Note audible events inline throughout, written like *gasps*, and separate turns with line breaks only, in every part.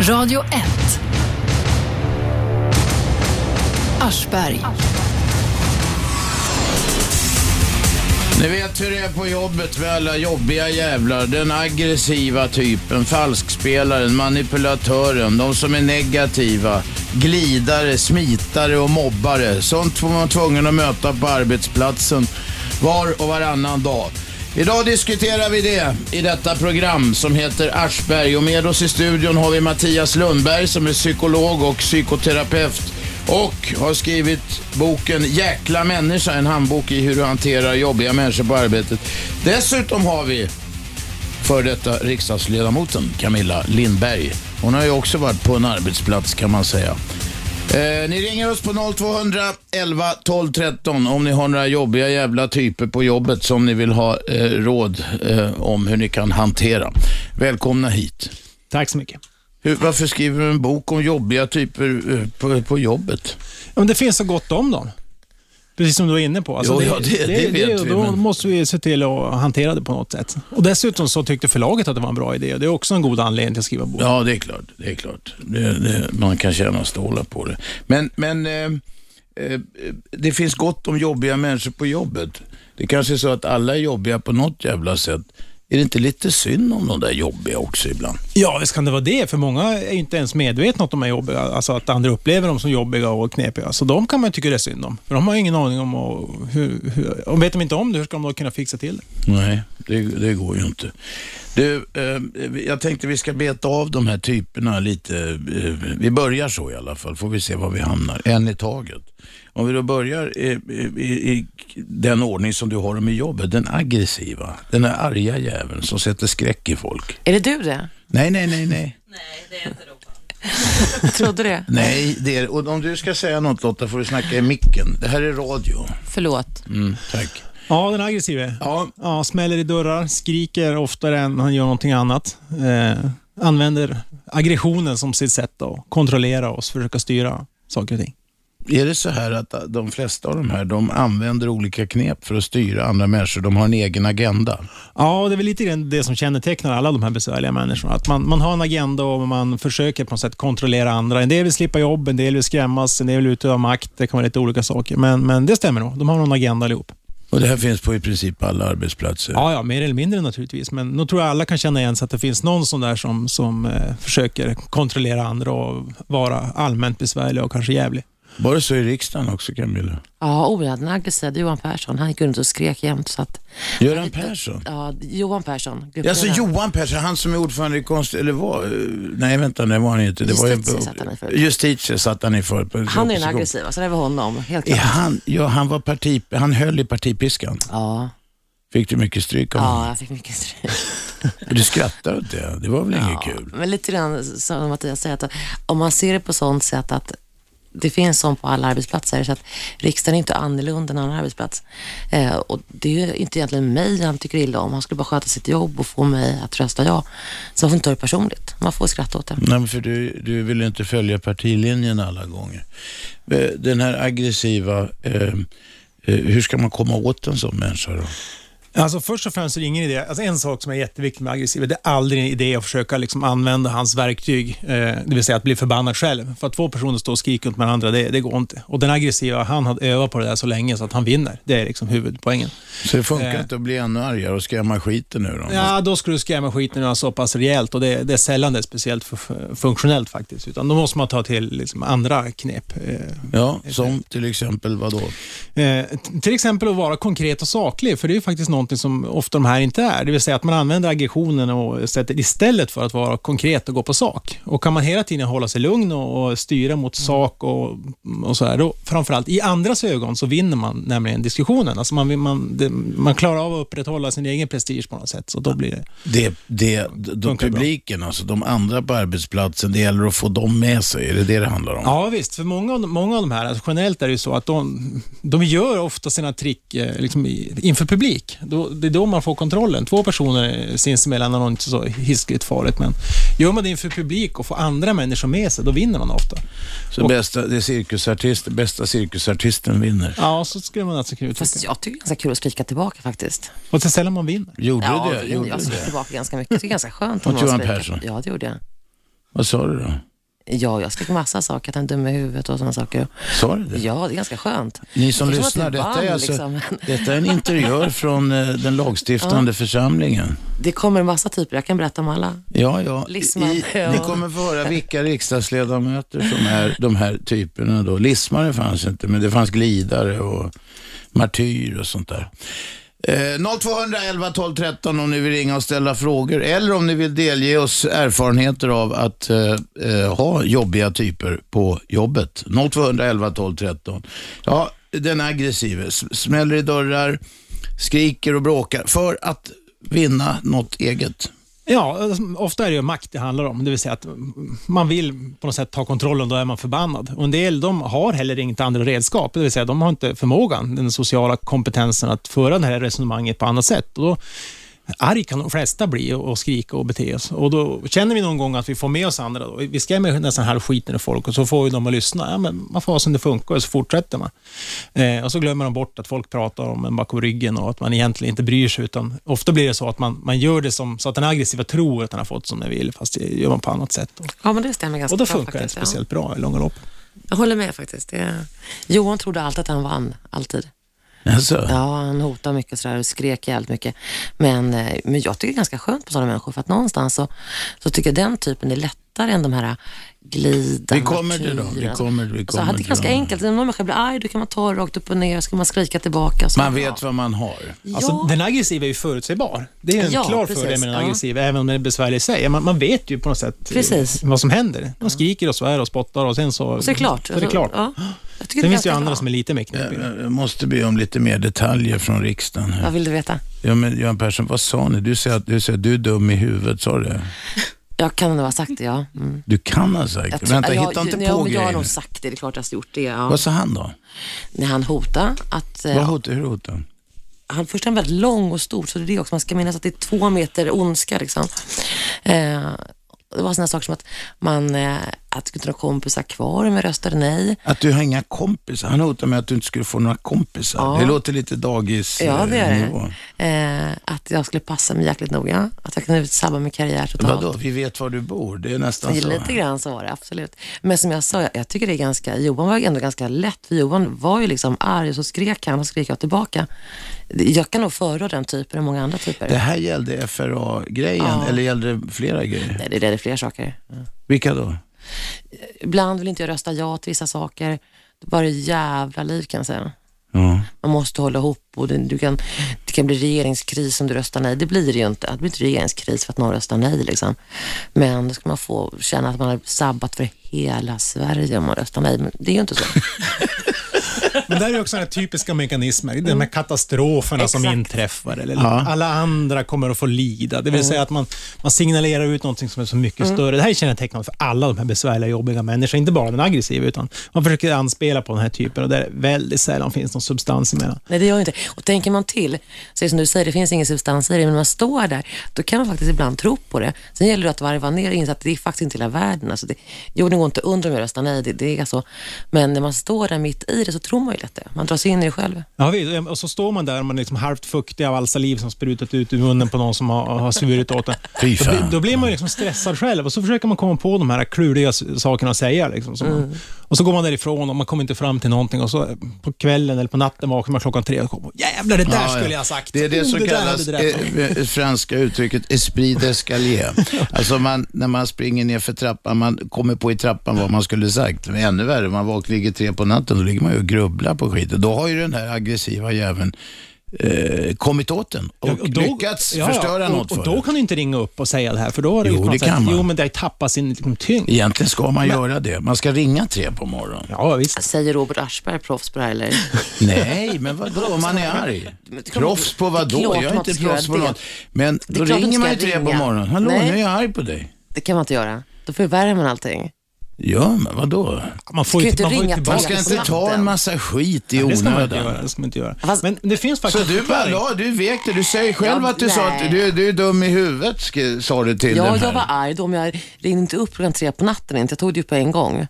Radio 1. Aschberg.
Ni vet hur det är på jobbet med alla jobbiga jävlar. Den aggressiva typen, falskspelaren, manipulatören, de som är negativa, glidare, smitare och mobbare. Sånt var man tvungen att möta på arbetsplatsen var och varannan dag. Idag diskuterar vi det i detta program som heter Aschberg och med oss i studion har vi Mattias Lundberg som är psykolog och psykoterapeut och har skrivit boken Jäkla människa, en handbok i hur du hanterar jobbiga människor på arbetet. Dessutom har vi för detta riksdagsledamoten Camilla Lindberg. Hon har ju också varit på en arbetsplats kan man säga. Eh, ni ringer oss på 0200 11 12 13 om ni har några jobbiga jävla typer på jobbet som ni vill ha eh, råd eh, om hur ni kan hantera. Välkomna hit.
Tack så mycket.
Hur, varför skriver du en bok om jobbiga typer eh, på, på jobbet?
Men det finns så gott om dem. Precis som du var inne på. Alltså,
Jo, ja, det- det vet vi,
Då
men-
måste vi se till att hantera det på något sätt. Och Dessutom så tyckte förlaget att det var en bra idé. och Det är också en god anledning till att skriva bok.
Ja, det är klart. Det är klart. Det, det, man kan tjäna stålar på det. Men, men eh, eh, det finns gott om jobbiga människor på jobbet. Det kanske är så att alla är jobbiga på något jävla sätt. Är det inte lite synd om de där jobbiga också ibland?
Ja, visst kan det vara det. För många är ju inte ens medvetna att de är jobbiga. Alltså att andra upplever dem som jobbiga och knepiga. Så de kan man ju tycka det är synd om. För de har ju ingen aning om och hur, hur... Och vet de inte om det, hur ska de då kunna fixa till det?
Nej, det, det går ju inte. Du, eh, jag tänkte vi ska beta av de här typerna lite. Eh, vi börjar så i alla fall, får vi se var vi hamnar. En i taget. Om vi då börjar i, i, i den ordning som du har dem i jobbet, den aggressiva, den där arga jäveln som sätter skräck i folk.
Är det du det?
Nej, nej, nej, nej.
Jag *laughs* trodde det.
Nej, det är, och om du ska säga något Lotta får du snacka i micken. Det här är radio.
Förlåt.
Mm, tack.
Ja, den aggressive.
Ja,
Ja, smäller i dörrar, skriker oftare än han gör någonting annat. Eh, använder aggressionen som sitt sätt att kontrollera oss, försöka styra saker och ting.
Är det så här att de flesta av de här, de använder olika knep för att styra andra människor? De har en egen agenda?
Ja, det är väl lite grann det som kännetecknar alla de här besvärliga människorna. Att man, man har en agenda och man försöker på något sätt kontrollera andra. En del vill slippa jobb, en del vill skrämmas, en del vill utöva makt. Det kan vara lite olika saker. Men, men det stämmer nog. De har någon agenda allihop.
Och det här finns på i princip alla arbetsplatser?
Ja, ja, mer eller mindre naturligtvis. Men nog tror jag alla kan känna igen sig att det finns någon sån där som, som eh, försöker kontrollera andra och vara allmänt besvärlig och kanske jävlig.
Var det så i riksdagen också Camilla?
Ja, oh, ja, den aggressiva Johan Persson. Han gick runt och skrek jämt. Så att,
Göran Persson?
ja, Johan Persson.
Ja, så Johan Persson, han som är ordförande i konst... Eller var... eh, Nej, vänta, det var han inte. Det var ju-
Justitie satt han i förut.
Justitie satt han i förut. på-
han är den
opposition.
aggressiva, så det var honom. Helt
Är
klart.
han, ja, han, var parti, han höll i partipiskan.
Ja.
Fick du mycket stryk av honom?
ja, jag fick mycket stryk.
Du skrattar åt det. Det var väl inget
Ja,
kul?
Men lite grann som Mattias säger, att om man ser det på sånt sätt att det finns sånt på alla arbetsplatser, så att riksdagen är inte annorlunda än annan arbetsplats. Eh, och det är ju inte egentligen mig han tycker illa om. Han skulle bara sköta sitt jobb och få mig att rösta ja. Så man får inte ta det personligt. Man får skratta åt det.
Nej, men för du, du vill inte följa partilinjen alla gånger. Eh, Den här aggressiva, eh, eh, hur ska man komma åt en sån människa då?
Alltså först och främst är det ingen idé. Alltså en sak som är jätteviktig med aggressiva, det är aldrig en idé att försöka liksom använda hans verktyg, eh, det vill säga att bli förbannad själv. För att två personer står och skriker åt varandra, det, det går inte. Och den aggressiva, han har övat på det där så länge så att han vinner. Det är liksom huvudpoängen.
Så det funkar
Eh.
inte att bli ännu argare och skrämma skiten nu då?
Ja, då skulle du skrämma skiten ur honom så pass rejält och det, det är sällan det är speciellt fu- funktionellt faktiskt. Utan då måste man ta till liksom andra knep. Eh,
Ja, som till exempel vad då?
eh, t- till exempel att vara konkret och saklig, för det är ju faktiskt någonting som ofta de här inte är. Det vill säga att man använder aggressionen och sätter istället för att vara konkret och gå på sak. Och kan man hela tiden hålla sig lugn och, och styra mot sak och, och så här, då framförallt i andras ögon så vinner man nämligen diskussionen. Alltså man, vill- man, det, man klarar av att upprätthålla sin egen prestige på något sätt, så då blir det
Det, det, de
Funkar bra.
publiken, alltså de andra på arbetsplatsen, det gäller att få dem med sig. Är det det det handlar om?
Ja visst, för många av, de- många av de här, alltså generellt är det ju så att de, de gör ofta sina trick eh, liksom i, inför publik. Då, det är då man får kontrollen. Två personer eh, sinsemellan är nog inte så hiskligt farligt, men gör man det inför publik och får andra människor med sig, då vinner man ofta.
Så bästa, det är cirkusartist, bästa cirkusartisten vinner.
Ja, så skulle man alltså kunna
Fast
uttrycka
jag tycker det är ganska kul att skrika tillbaka faktiskt.
Och så sällan man vinner.
Gjorde
ja,
det? Gjorde
jag
det?
skrek tillbaka ganska mycket. Det är ganska skönt. om
Mot
någon
Johan
skriker.
Persson?
Ja, det gjorde jag.
Vad sa du då?
Ja, jag skrek massa saker, att han är dum i huvudet och sådana saker.
Sa du det?
Ja, det är ganska skönt.
Ni som
Det är som
lyssnar,
att du
detta är,
vann,
alltså,
liksom.
detta
*laughs*
är en interiör från eh, den lagstiftande församlingen.
Det kommer en massa typer, jag kan berätta om alla.
Ja, ja.
Lisman, ja.
Ni kommer få höra vilka riksdagsledamöter som är de här typerna då. Lismare fanns inte, men det fanns glidare och martyr och sånt där. Eh, 0211 12 13 om ni vill ringa och ställa frågor eller om ni vill delge oss erfarenheter av att eh, eh, ha jobbiga typer på jobbet. 0211 12 13. Ja, den aggressive s- smäller i dörrar, skriker och bråkar för att vinna något eget.
Ja, alltså, ofta är det ju makt det handlar om. Det vill säga att man vill på något sätt ta kontrollen, då är man förbannad. Och en del de har heller inte andra redskap. Det vill säga de har inte förmågan, den sociala kompetensen att föra det här resonemanget på annat sätt. Och då, arg kan de flesta bli och och skrika och bete oss. Och då känner vi någon gång att vi får med oss andra. Då. Vi skrämmer nästan halvskiten ur folk och så får vi dem att lyssna. Ja, men vad fasen det funkar och så fortsätter man. Eh, och så glömmer de bort att folk pratar om en bakom ryggen och att man egentligen inte bryr sig. Utan ofta blir det så att man, man gör det som, så att den aggressiva tror att den har fått som den vill, fast det gör man på annat sätt. Och,
Ja, men det stämmer ganska
och då
bra
funkar det inte
faktiskt.
speciellt bra i långa lopp.
Ja. Jag håller med faktiskt. Det... Johan trodde alltid att han vann, alltid.
Alltså.
Ja, han hotade mycket och sådär och skrek jävligt mycket. Men, eh, men jag tycker det är ganska skönt på sådana människor för att någonstans så, så tycker jag den typen är lättare än de här eh, glidande
Vi kommer till dem, vi
typerna.
kommer- vi
Alltså,
kommer
det är
till
ganska
dem.
enkelt. Om någon människa blir arg, då kan man ta rakt upp och ner, så kan man skrika tillbaka. Så
Man vet vad man har.
Ja.
Alltså, Den aggressiva är ju förutsägbar. Det är en
Ja,
klar
precis.
fördel med den
Ja.
aggressiva, även om den är besvärlig i sig. Man, man vet ju på något sätt eh,
Precis.
vad som händer. De skriker och svär och spottar och sen så,
Och så är det klart.
Så är det klart.
Ja. Jag tycker
Sen
det
finns det ju andra som
är...
är lite mer
Jag-
knepiga.
Jag måste be om lite mer detaljer från riksdagen.
ganska bra. Vad
Här.
vill du veta?
Ja, men Göran Persson, vad sa ni? Du säger att du, säger att du är dum i huvudet, sa du det?
Jag kan nog ha sagt det, ja. Mm.
Du kan ha sagt
Jag
det.
tror-
Vänta,
jag,
hitta inte
ja,
på
men Jag har
grejer.
nog sagt det, det är klart jag har gjort det. Ja.
Vad sa han då?
När han hotade att... eh,
Vad hot, hur hotade han?
han först är han väldigt lång och stor, så det är det också. Man ska minnas att det är två meter ondska. Liksom. Eh, det var sådana saker som att man, eh, att skulle inte ha kompisar kvar om jag röstade nej.
Att du har inga kompisar. Han hotade med att du inte skulle få några kompisar.
Ja.
Det låter lite dagis
Ja,
eh,
det gör
nivå.
det. Eh, att jag skulle passa mig jäkligt noga. Att jag kunde sabba min karriär totalt.
Vadå, vi vet var du bor. Det är nästan så.
Lite grann så var det, absolut. Men som jag sa, jag, jag tycker det är ganska, Johan var ju ändå ganska lätt, för Johan var ju liksom arg och så skrek han och skrek jag tillbaka. Jag kan nog föredra den typen och många andra typer.
Det här gällde FRA-grejen, eller gällde det flera grejer?
Nej, det är det fler saker.
Vilka då?
Ibland vill inte jag rösta ja till vissa saker. Det bara är jävla liv kan jag säga.
Ja.
Man måste hålla ihop och det, du kan, det kan bli regeringskris om du röstar nej. Det blir det ju inte. Det blir inte regeringskris för att någon röstar nej. Liksom. Men då ska man få känna att man har sabbat för hela Sverige om man röstar nej. Men det är ju inte så.
Men där är ju också den här typiska mekanismer, de här katastroferna som
Exakt.
inträffar. Eller
Ja.
Alla andra kommer att få lida. Det vill säga att man, man signalerar ut någonting som är så mycket större. Det här är kännetecknande för alla de här besvärliga, jobbiga människorna. Inte bara den aggressiva, utan man försöker anspela på den här typen och där det väldigt sällan finns någon substans emellan.
Nej, det gör jag inte. Och tänker man till, så är det som du säger, det finns ingen substans i det, men när man står där, då kan man faktiskt ibland tro på det. Sen gäller det att varva ner och inse att det är faktiskt inte hela världen. Alltså det, jo, det går inte under om jag röstar nej, det, det är så. Men när man står där mitt i det så tror man ju lätt det. Man dras in i det själv.
Ja, visst. och så står man där och man är liksom halvt fuktig av all saliv som sprutat ut ur munnen på någon som har, har svurit åt en.
Fy
Då, blir-
fan.
då blir man ju liksom stressad själv och så försöker man komma på de här kluriga s- sakerna att säga. Liksom, som
Mm.
man, och så går man därifrån och man kommer inte fram till någonting och så på kvällen eller på natten vaknar man klockan tre och kommer jävlar det där
Ja, ja.
skulle jag ha sagt.
Det är det
Oh,
som
där hade
kallas
du rätt om."
eh, eh, franska uttrycket esprit d'escalier. Alltså man, när man springer ner för trappan, man kommer på i trappan vad man skulle sagt. Men ännu värre, man vaknar, ligger tre på natten, då ligger man ju och grubblar på skiten. Då har ju den här aggressiva jäveln eh, kommit åt den och,
Ja, då-
lyckats
ja, ja.
förstöra
och,
något
och
för
Då
den.
kan du inte ringa upp och säga det här för då har du
Jo,
ju på något
det kan
sätt-
man.
Jo, men det tappar sin liksom, tyngd.
Egentligen ska man göra det. Man ska ringa tre på morgonen.
Ja, visst.
Säger Robert Aschberg, proffs på det här eller?
Nej, men vadå om man är arg?
Men det kan man-
Proffs på
det är klart
vadå? Jag är
man
inte
ska göra
proffs på
det.
något. Men
Det är
då
klart man
ringer man ju
ska
tre på
ringa.
morgonen. Hallå,
Nej.
nu är jag arg på dig.
Det kan man inte göra. Då förvärrar man allting.
Ja, men vadå?
Man får
Ska
ju
inte
man får ju
ringa
tillbaka
Man
Man
ska
ska
inte
slapp
ta en
den.
massa skit i
Det ska man inte
onödan.
göra. Det ska man inte göra.
Fast-
men det finns
Så
faktiskt
du
en förklaring.
bara, du vek det. Du säger själv
Ja,
att du sa att
nej.
du, du är dum i huvudet, sk- sa du till
Ja,
den här.
jag var arg då, men jag ringde inte upp klockan tre på natten. Inte. Jag tog det ju på en gång. Om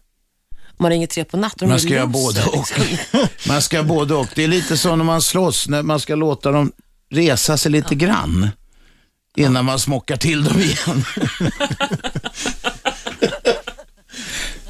Man ringer tre på natten.
Man
de
ska
är
göra
loser,
både och. Man ska göra både och. Det är lite så när man slåss, när man ska låta dem resa sig lite grann. Innan man smockar till dem igen. *laughs*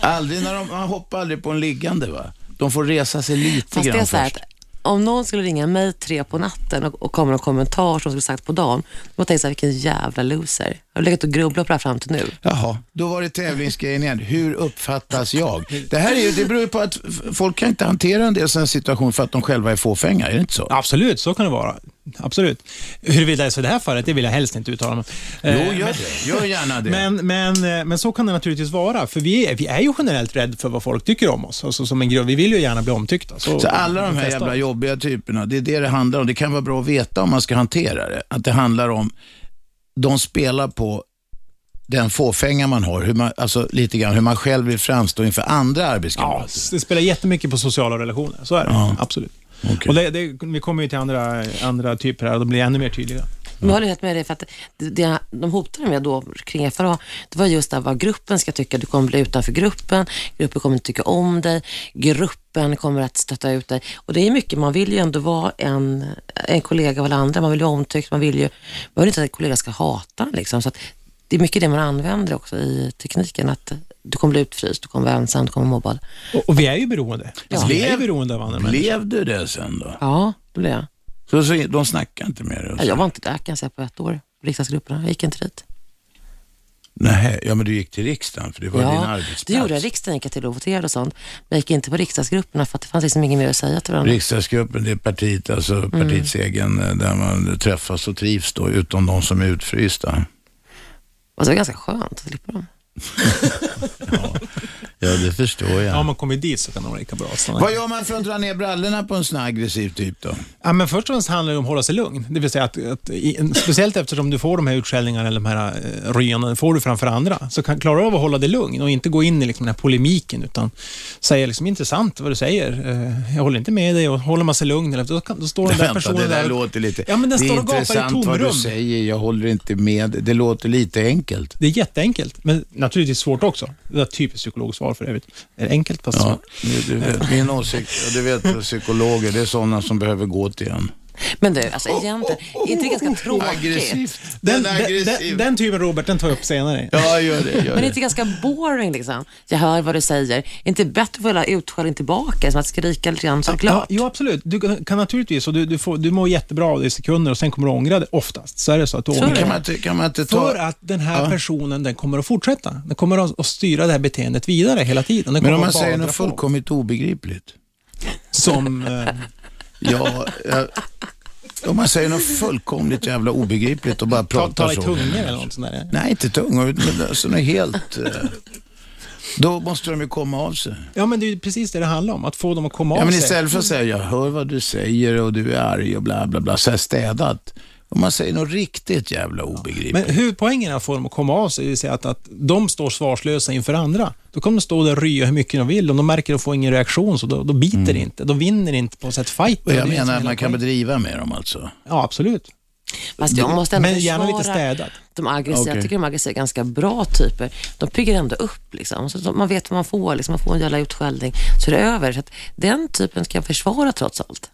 Aldrig när de, man hoppar aldrig på en liggande va? De får resa sig lite
Fast
grann
det är så här
först.
att om någon skulle ringa mig tre på natten och, och komma med en kommentar som skulle sagt på dagen, då tänkte jag så här, vilken jävla loser. Jag har legat och grubblat på det här fram till nu.
Jaha, då var det tävlingsgrejen igen. Hur uppfattas jag? Det här är ju, det beror ju på att f- folk kan inte hantera en del sån här situation för att de själva är fåfänga, är det inte så?
Absolut, så kan det vara. Absolut. Huruvida det är så i det här fallet, det vill jag helst inte uttala mig
Jo,
Eh,
gör det. Gör gärna det.
Men, men, eh, men så kan det naturligtvis vara, för vi är, vi är ju generellt rädda för vad folk tycker om oss. Alltså, som en grupp. Vi vill ju gärna bli omtyckta.
Så alla de här
flesta av
jävla
oss.
jobbiga typerna, det är det det handlar om. Det kan vara bra att veta om man ska hantera det. Att det handlar om, de spelar på den fåfänga man har, hur man, alltså lite grann hur man själv vill framstå inför andra
Ja,
arbetskamrater.
det spelar jättemycket på sociala relationer, så är det.
Ja.
Absolut.
Okej.
Och det, det, vi kommer ju till andra, andra typer här och de blir ännu mer tydliga.
Men jag håller helt med dig, för att det, det, de hotade mig då kring FRA, det var just det här vad gruppen ska tycka. Du kommer bli utanför gruppen, gruppen kommer inte tycka om dig, gruppen kommer att stötta ut dig. Och det är mycket, man vill ju ändå vara en, en kollega av alla andra, man vill ju vara omtyckt, man vill ju, man vill inte att en kollega ska hata en, liksom. Så att det är mycket det man använder också i tekniken, att du kommer bli utfryst, du kommer vara ensam, du kommer vara mobbad.
Och, och vi är ju beroende. Alltså, vi är ju beroende av andra människor.
Blev du det sen då?
Ja, det blev jag.
Så, så, de snackar inte med dig? och
Ja,
så?
Jag var inte där kan jag säga på ett år, riksdagsgrupperna, jag gick inte dit.
Nej, ja men du gick till riksdagen för det var din
Ja,
arbetsplats.
det gjorde jag. Riksdagen gick jag till och voterade och sånt. Men jag gick inte på riksdagsgrupperna för att det fanns liksom inget mer att säga till varandra.
Riksdagsgruppen, det är partiet,
Mm.
alltså partiets egen, eh, där man träffas och trivs då, utom de som är utfrysta.
Och Alltså, det var ganska skönt att slippa dem.
Ja, det förstår jag.
Ja, om man kommer dit så kan de vara lika bra. att stanna.
Vad gör man för att dra ner brallorna på en sån här aggressiv typ då?
Ja, men först och främst handlar det om att hålla sig lugn. Det vill säga att, att i, speciellt eftersom du får de här utskällningarna eller de här eh, rynen, får du framför andra, så kan, klarar du av att hålla dig lugn och inte gå in i liksom den här polemiken, utan säga liksom intressant vad du säger. Eh, jag håller inte med dig och håller man sig lugn, eller, då, kan, då står den där
Vänta,
personen
det där
och-
låter lite...
Ja, men den
det är
står och gapar i
intressant vad du
tomrum.
säger, jag håller inte med. Det låter lite enkelt.
Det är jätteenkelt, men naturligtvis svårt också. Det är ett typiskt psykologiskt svar för övrigt. Är det enkelt fast
Ja,
svårt?
du, du vet, min åsikt, ja, du vet psykologer, det är sådana som behöver gå till en.
Men du, alltså egentligen, är inte det ganska tråkigt?
Aggressivt.
Den, den, den, den typen Robert, den tar jag upp senare.
Ja, gör det. Gör
Men är
det.
inte det ganska boring liksom? Jag hör vad du säger. Är inte bättre att få hela utskällen tillbaka, som att skrika lite grann såklart?
Ja, jo, absolut. Du kan kan naturligtvis, och du, du, får, du mår jättebra av det i sekunder och sen kommer du ångra det oftast. Så är det så att du ångrar
Kan
det.
man, inte- kan man inte
För
ta...
att den här personen den kommer att fortsätta. Den kommer att, att styra det här beteendet vidare hela tiden. Den
Men
kommer
om man
att bara
säger
dra
något
på.
fullkomligt obegripligt.
Som, eh,
Ja, jag, om man säger något fullkomligt jävla obegripligt och bara
ta,
pratar
tala i
så.
tungor eller något sånt där.
Nej, inte tungor, utan alltså något helt... eh, Då måste de ju komma av sig.
Ja, men det är ju precis det det handlar om. Att få dem att komma
Ja,
av
men
sig.
istället för att säga jag hör vad du säger och du är arg och bla bla bla, så här städat. Om man säger något riktigt jävla obegripligt.
Men huvudpoängen är att få dem att komma av sig, det vill säga att, att de står svarslösa inför andra. Då kommer de stå där och rya hur mycket de vill. Om de märker att de får ingen reaktion, så då, då biter det inte. De vinner inte på något sätt fighten.
Mm. och
Det är det
jag
som
menar
är
att
hela
man kan
poängen.
bedriva med dem alltså.
Ja, absolut.
Fast jag måste ändå
Men gärna lite
försvara
städat.
De aggressiva,
Okej.
jag tycker de aggressiva är ganska bra typer. De piggar ändå upp liksom. Så att man vet vad man får, liksom. man får en jävla utskällning så är det över. Så att den typen kan jag försvara trots allt.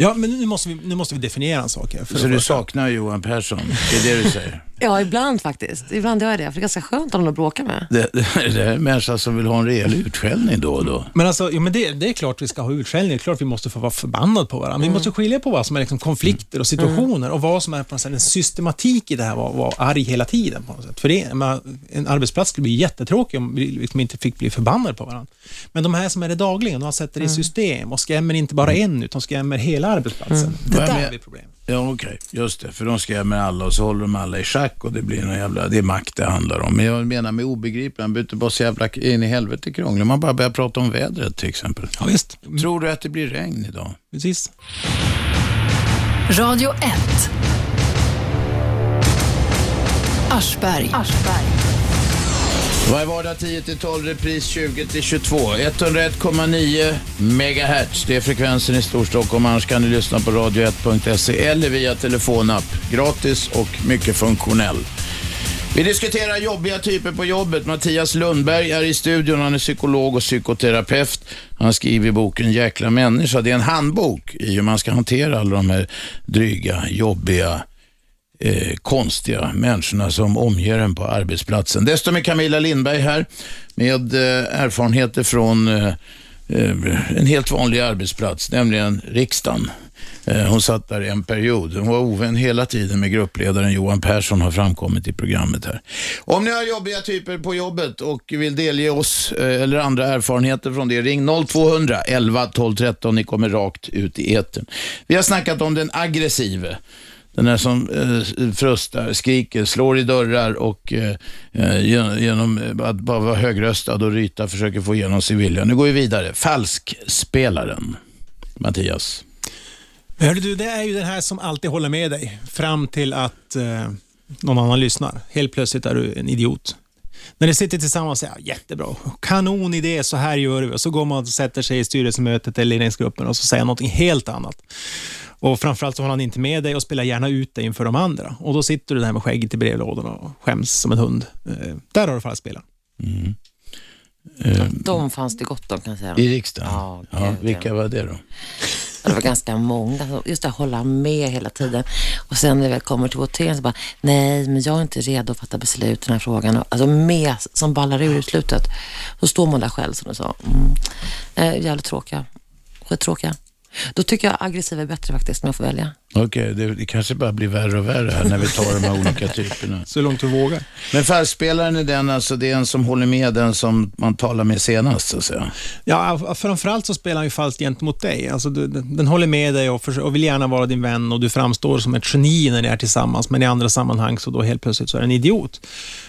Ja, men nu måste vi, nu måste vi definiera en sak här. För
Så
att-
du saknar Johan Persson, det är det
*laughs*
du säger?
Ja, ibland faktiskt. Ibland gör jag det, för det är ganska skönt om de bråkar med.
Det, det, det är en människa som vill ha en rejäl utskällning då och då.
Men alltså, ja, men det, det är klart vi ska ha utskällning, det är klart vi måste få vara förbannade på varandra. Vi måste skilja på vad som är liksom konflikter och situationer och vad som är på något sätt en systematik i det här, vad vara arg hela tiden på något sätt. För det, man, en arbetsplats skulle bli jättetråkig om vi liksom inte fick bli förbannade på varandra. Men de här som är det dagligen, de sätter det i system och skrämmer inte bara en, utan skrämmer hela arbetsplatsen. Mm. Det
Vad jag
där
men-
blir problemet.
Ja, okej. Just det, för de skrämmer alla och så håller de alla i schack och det blir någon jävla, det är makt det handlar om. Men jag menar med obegripligt, man behöver inte bara så jävla in i helvete krånglig. Man bara börjar prata om vädret till exempel.
Ja, visst.
Tror du att det blir regn idag?
Precis.
Radio 1. Aschberg.
Varje vardag 10-12, repris 20-22. 101,9 megahertz. Det är frekvensen i Storstockholm. Annars kan ni lyssna på radio1.se eller via telefonapp. Gratis och mycket funktionell. Vi diskuterar jobbiga typer på jobbet. Mattias Lundberg är i studion. Han är psykolog och psykoterapeut. Han skriver boken Jäkla människa. Det är en handbok i hur man ska hantera alla de här dryga, jobbiga eh, konstiga människorna som omger en på arbetsplatsen. Desto med Camilla Lindberg här med eh, erfarenheter från eh, eh, en helt vanlig arbetsplats, nämligen riksdagen. Eh, Hon satt där i en period. Hon var ovän hela tiden med gruppledaren Johan Persson har framkommit i programmet här. Om ni har jobbiga typer på jobbet och vill delge oss eh, eller andra erfarenheter från det, ring 0200 11 12 13. Ni kommer rakt ut i etern. Vi har snackat om den aggressive. Den där som eh, frustar, skriker, slår i dörrar och eh, eh, gen- genom eh, att bara vara högröstad och ryta försöker få igenom sin vilja. Nu går vi vidare. Falskspelaren, Mattias.
Men Hörru du, det är ju den här som alltid håller med dig fram till att eh, någon annan lyssnar. Helt plötsligt är du en idiot. När ni sitter tillsammans och säger "Ja, jättebra, kanonidé, så här gör vi. Och så går man och sätter sig i styrelsemötet eller ledningsgruppen och så säger han någonting helt annat. Och framförallt så håller han inte med dig och spelar gärna ut dig inför de andra. Och då sitter du där med skägget i brevlådan och skäms som en hund. Eh, där har du falskspelaren.
De fanns det gott om kan jag säga.
I riksdagen?
Ja,
ja,
gud,
vilka
ja.
var det då?
Det var ganska många. Just det, hålla med hela tiden. Och sen när vi kommer till voteringen så bara, nej, men jag är inte redo att fatta beslut i den här frågan. Alltså med som ballar ur i slutet. Så står man där själv som du sa. Mm. Eh, jävligt tråkiga. Skittråkiga. Då tycker jag aggressiva är bättre faktiskt, om jag får välja.
Okej, det, det kanske bara blir värre och värre här när vi tar de här olika typerna.
Så långt du vågar.
Men falskspelaren är den alltså, det är en som håller med den som man talar med senast så att säga.
Ja, framförallt så spelar han ju falskt gentemot dig. Alltså, du, den håller med dig och, förs- och vill gärna vara din vän och du framstår som ett geni när ni är tillsammans, men i andra sammanhang så då helt plötsligt så är du en idiot.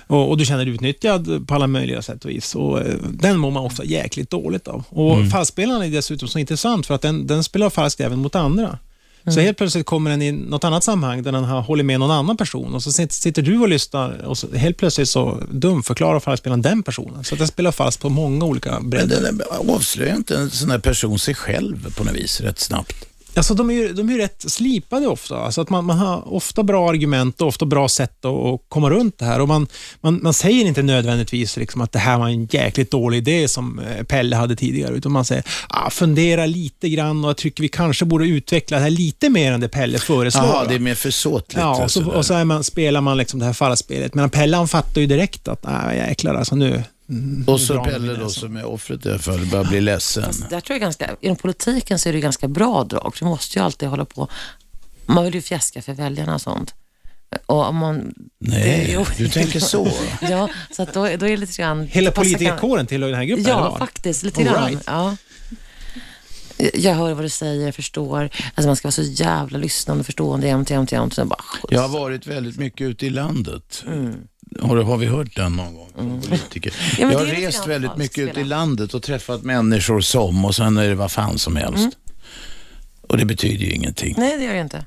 Och, och du känner dig utnyttjad på alla möjliga sätt och vis. Och, eh, den mår man ofta jäkligt dåligt av. Och falskspelaren är dessutom så intressant för att den, den spelar falskt även mot andra.
Mm.
Så helt plötsligt kommer den i något annat sammanhang där den har hållit med någon annan person och så sit- sitter du och lyssnar och så helt plötsligt så dumförklarar falskspelaren den personen. Så att den spelar falskt på många olika bredder.
Men den där- avslöjar inte en sån här person sig själv på något vis rätt snabbt?
Alltså, de, är ju, de är ju rätt slipade ofta. Alltså att man, man har ofta bra argument och ofta bra sätt att, att komma runt det här. Och man, man, man säger inte nödvändigtvis liksom att det här var en jäkligt dålig idé som eh, Pelle hade tidigare, utan man säger ah, fundera lite grann och jag tycker vi kanske borde utveckla det här lite mer än det Pelle föreslår.
Jaha, det är
va?
mer försåtligt.
Ja, och
alltså,
så,
där.
och så är man, spelar man liksom det här falspelet. Medan Pelle han fattar ju direkt att, nej jäklar alltså nu... mm,
och
nu drar
så
han
Pelle
min
då
näsa."
som är offret i alla fall, bara blir ledsen.
Fast där tror jag ganska, inom politiken så är det ganska bra drag. Du måste ju alltid hålla på. Man vill ju fjäska för väljarna och sånt. Och om man...
Nej,
Jo.
du tänker så.
*laughs* Ja, så att då, då är det lite grann...
Hela
det passar
politikerkåren tillhör den här gruppen? eller
Ja,
vad?
faktiskt. Lite
All
grann.
right.
Ja. Jag hör vad du säger, jag förstår. Alltså man ska vara så jävla lyssnande och förstående jämt, jämt, jämt. Sen bara, skjuts.
Jag har varit väldigt mycket ute i landet. Har, har vi hört den någon gång? från Politiker.
Mm. Ja, men
jag
det
har
är lite grann
rest väldigt mycket
falskt,
ute i
Peter.
landet och träffat människor som och sen är det vad fan som helst. Och det betyder ju ingenting.
Mm. Nej, det gör jag inte.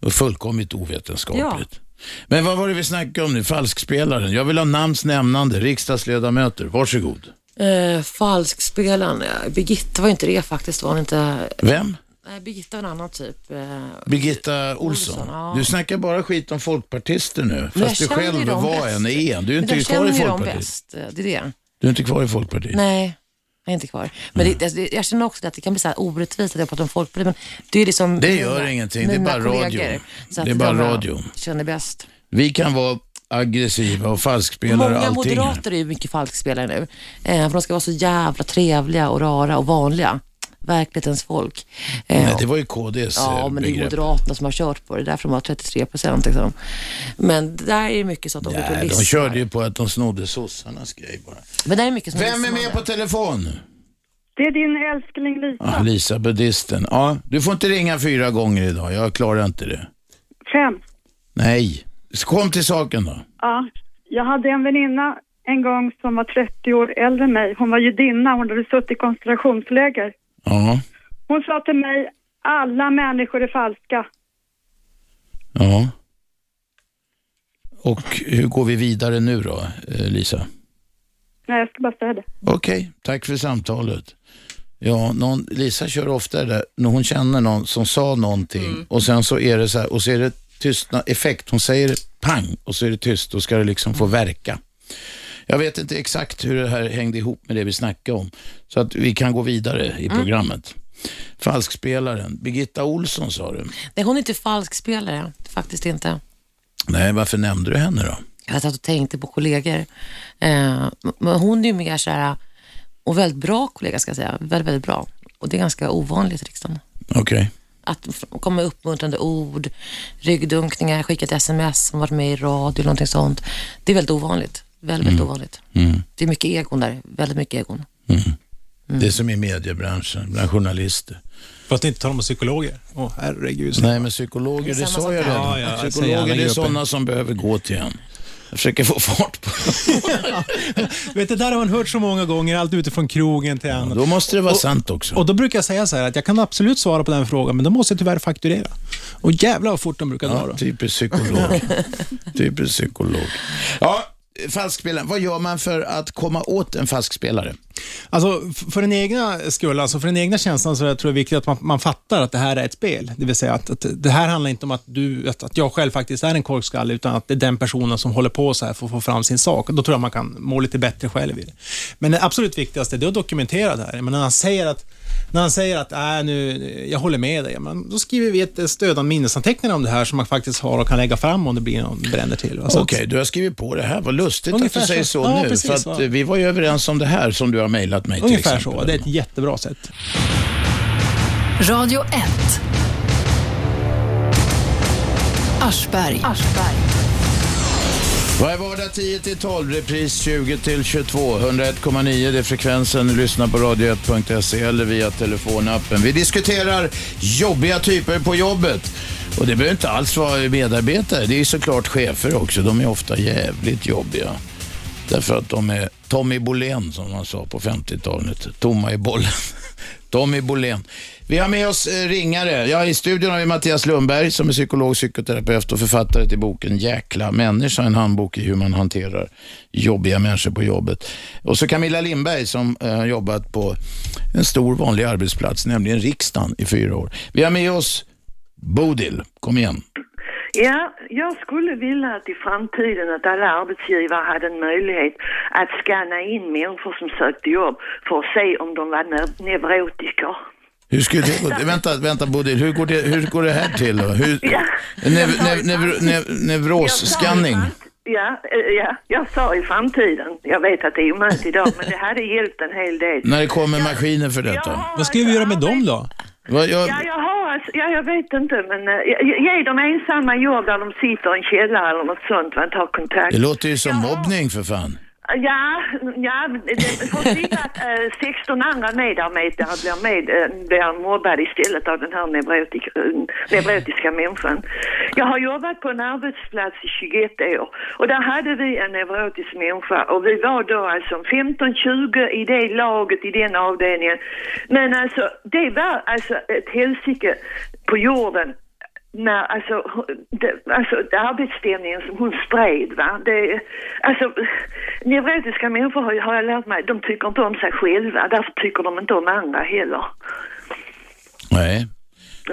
Och fullkomligt ovetenskapligt. Men vad var det vi snackade om nu? Falskspelaren. Jag vill ha namns nämnande. Riksdagsledamöter, varsågod.
Eh, falskspelaren. eh, Birgitta var inte det faktiskt. Var hon inte...
Vem?
Nej, Birgitta var en annan typ. Eh,
Birgitta Olsson.
Olsson, ja.
Du snackar bara skit om folkpartister nu.
men jag
Fast du
känner ju
själv
dem
var
bäst.
en i en. Du är
Men
inte
jag
kvar
känner
i
ju dem
Folkpartiet.
bäst. eh, Det är det.
Du är inte kvar i Folkpartiet.
Nej, jag är inte kvar. Men det, alltså, det, jag känner också att det kan bli så här orättvist att jag pratar om folkpartiet. Men det är liksom
Det gör ingenting, det är bara radio.
Så att
Det är bara
de, eh,
radio.
Känner bäst.
Vi kan vara aggressiva och falskspelare och
Många
allting. här.
moderater är ju mycket falskspelare nu. Eh, för de ska vara så jävla trevliga och rara och vanliga. Verklighetens folk. Eh,
Nej, det var ju KDs
Ja,
eh,
men det är
begrepp.
Moderaterna som har kört på det. därför de har 33 procent. Liksom. Men det där är ju mycket så att de går på
Nej,
listor.
de körde ju på att de snodde sossarnas grej bara.
Men det är mycket som
Vem är
lyssnar.
med på telefon?
Det är din älskling Lisa.
Ah, Lisa, buddhisten. Ja, du får inte ringa fyra gånger idag. Jag klarar inte det.
Fem.
Nej. Så Kom till saken då.
Ja. Jag hade en väninna en gång som var 30 år äldre än mig. Hon var judinna, hon hade suttit i koncentrationsläger.
Ja,
Hon sa till mig, alla människor är falska.
ja. Och hur går vi vidare nu då, eh, Lisa?
Nej, jag ska bara säga det.
Okej, tack för samtalet. Ja, någon, Lisa kör ofta det där, när hon känner någon som sa någonting och sen så är det så här, och så är det tystnad, effekt, hon säger pang och så är det tyst, då ska det liksom få verka. Jag vet inte exakt hur det här hängde ihop med det vi snackade om, så att vi kan gå vidare i programmet. Falskspelaren, Birgitta Olsson sa du.
Nej, hon är inte falskspelare. Faktiskt inte.
Nej, varför nämnde du henne då?
Jag satt och tänkte på kollegor. Eh, men hon är ju mer så här, och väldigt bra kollega ska jag säga. Väldigt, väldigt bra. Och det är ganska ovanligt i riksdagen.
Okej.
Att f- komma med uppmuntrande ord, ryggdunkningar, skicka ett sms som varit med i radio, någonting sånt. Det är väldigt ovanligt. Väldigt, väldigt ovanligt.
Mm.
Det är mycket egon där. Väldigt mycket egon.
Det är som i mediebranschen, bland journalister.
För att inte tala om psykologer. Åh, herregud.
Nej, men psykologer, det
Samma
sa
sak
jag
där.
Ja,
redan.
ja, jag säger alla
psykologer, det är
grupper.
sådana som behöver gå till en. Jag försöker få fart på
Vet, det där har man hört så många gånger, allt utifrån krogen till annat.
Då måste det vara sant också.
Och då brukar jag säga så här att jag kan absolut svara på den frågan, men då måste jag tyvärr fakturera. Och jävlar vad fort de brukar dra
Ja,
då. *laughs*
typisk psykolog. typisk typ psykolog. Ja, falskspelaren. Vad gör man för att komma åt en falskspelare?
Alltså, f- för den egna skull, alltså för den egna känslan så är det, tror jag det är viktigt att man, man fattar att det här är ett spel. Det vill säga att, att det här handlar inte om att, du, att, att jag själv faktiskt är en korkskalle, utan att det är den personen som håller på så här för att få fram sin sak. Och Då tror jag man kan må lite bättre själv i det. Men det absolut viktigaste det är att dokumentera det här. Men när han säger att när han säger att äh, nu, jag håller med dig, men då skriver vi ett eh, stödande minnesanteckningar om det här som man faktiskt har och kan lägga fram om det blir någon bränner till. va. Så att-
Okej, du har skrivit på det här. Vad lustigt
Ungefär
att du säger så,
så. Ja,
nu.
precis,
för att
va?
eh, vi var ju överens om det här som du har mejlat mig till
Ungefär
exempel.
så, det är ett jättebra sätt.
Radio 1. Aschberg.
Varje vardag 10 till 12, repris 20 till 22. 101,9 det är frekvensen. Du lyssnar på radio1.se eller via telefonappen. Vi diskuterar jobbiga typer på jobbet. Och det behöver inte alls vara medarbetare. Det är ju såklart chefer också. De är ofta jävligt jobbiga. Därför att de är Tommy Bolén, som man sa på 50-talet. Tomma i bollen. *laughs* Tommy Bolén. Vi har med oss eh, ringare. Ja, I studion har vi Mattias Lundberg som är psykolog, psykoterapeut och författare till boken Jäkla människa, en handbok i hur man hanterar jobbiga människor på jobbet. Och så Camilla Lindberg som eh, har jobbat på en stor vanlig arbetsplats, nämligen riksdagen i fyra år. Vi har med oss Bodil, kom igen.
Ja, jag skulle vilja att i framtiden att alla arbetsgivare hade en möjlighet att scanna in människor som sökte jobb för att se om de var neu- neurotiker.
Hur skulle det gå? Vänta, vänta Bodil, hur går det, hur går det här till? då? Hur, nev, nev, nev, nev, nevrosscanning?
Jag sa i framt- Ja, eh, ja, jag sa i framtiden. Jag vet att det är
*laughs*
omöjligt idag, men det hade hjälpt en hel del.
När det kommer maskiner för
Jag
detta?
har
Vad ska vi
alltså
göra med dem då?
Vad- jag-
Ja, jag har alltså, ja, jag vet inte, men eh, ge- ge dem ensamma jobb där de sitter i en källare eller något sånt, man tar kontakt.
Det låter ju som mobbning för fan.
Ja, ja det får till att eh, 16 andra medarbetare blir, med, eh, blir mobbade istället av den här neurotik, eh, neurotiska människan. Jag har jobbat på en arbetsplats i 21 år och där hade vi en neurotisk människa och vi var då alltså 15-20 i det laget, i den avdelningen. Men alltså, det var alltså ett helsike på jorden. Nej, alltså, det, alltså det arbetsstämningen som hon spred, va? Det, alltså, neurotiska människor har, ju- har jag lärt mig, de tycker inte om sig själva, därför tycker de inte om andra heller.
Nej,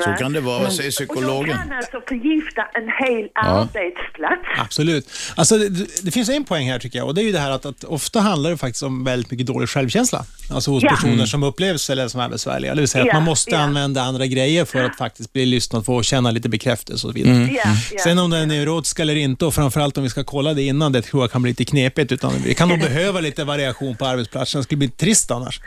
så
Nej.
kan det vara. Vad säger
Och de
psykologen?
kan alltså förgifta en hel arbetsplats.
Absolut. Alltså, det, det finns en poäng här tycker jag och det är ju det här att, att ofta handlar det faktiskt om väldigt mycket dålig självkänsla. Alltså hos
Ja. Mm.
personer som upplevs eller som är besvärliga. Det vill säga
Ja,
att man måste
ja.
använda andra grejer för att faktiskt bli lyssnad på och känna lite bekräftelse och så vidare.
Mm. Ja, ja.
Sen om den är neurotisk eller inte och framförallt om vi ska kolla det innan, det tror jag kan bli lite knepigt. Utan vi kan
*laughs*
nog behöva lite variation på arbetsplatsen, det skulle bli trist annars.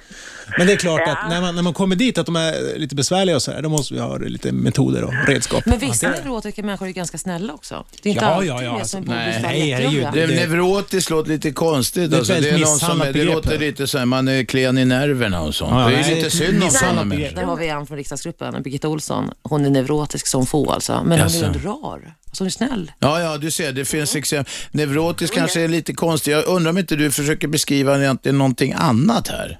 Men det är klart
Ja.
att när man, när man kommer dit, att de är lite besvärliga och så här, då måste vi ha lite metoder och redskap.
Men vissa
Hantera det.
neurotiker människor är ganska snälla också. Det är inte
Ja,
alltid
ja, ja,
det som
alltså,
borde
nej,
vara
nej,
jättejobbiga.
herregud.
Det,
Eh, Det-
neurotiskt låter lite konstigt.
Det är ett
alltså, det, är
väldigt
någon som,
misshandlat
det
begrepp
låter
här.
lite så här, man är klen i nerverna och sånt.
Ja,
det är
nej,
lite
det är ett
synd om sådana
misshandlat
människor.
begrepp.
Där har vi en från riksdagsgruppen, Birgitta Olsson. Hon är neurotisk som få alltså, men
Jaså.
hon är ju rar. Mm. Alltså, hon är snäll.
Ja, ja, du ser, det finns exempel. Neurotisk
Mm.
kanske är lite konstigt. Jag undrar om inte du försöker beskriva egentligen någonting annat här?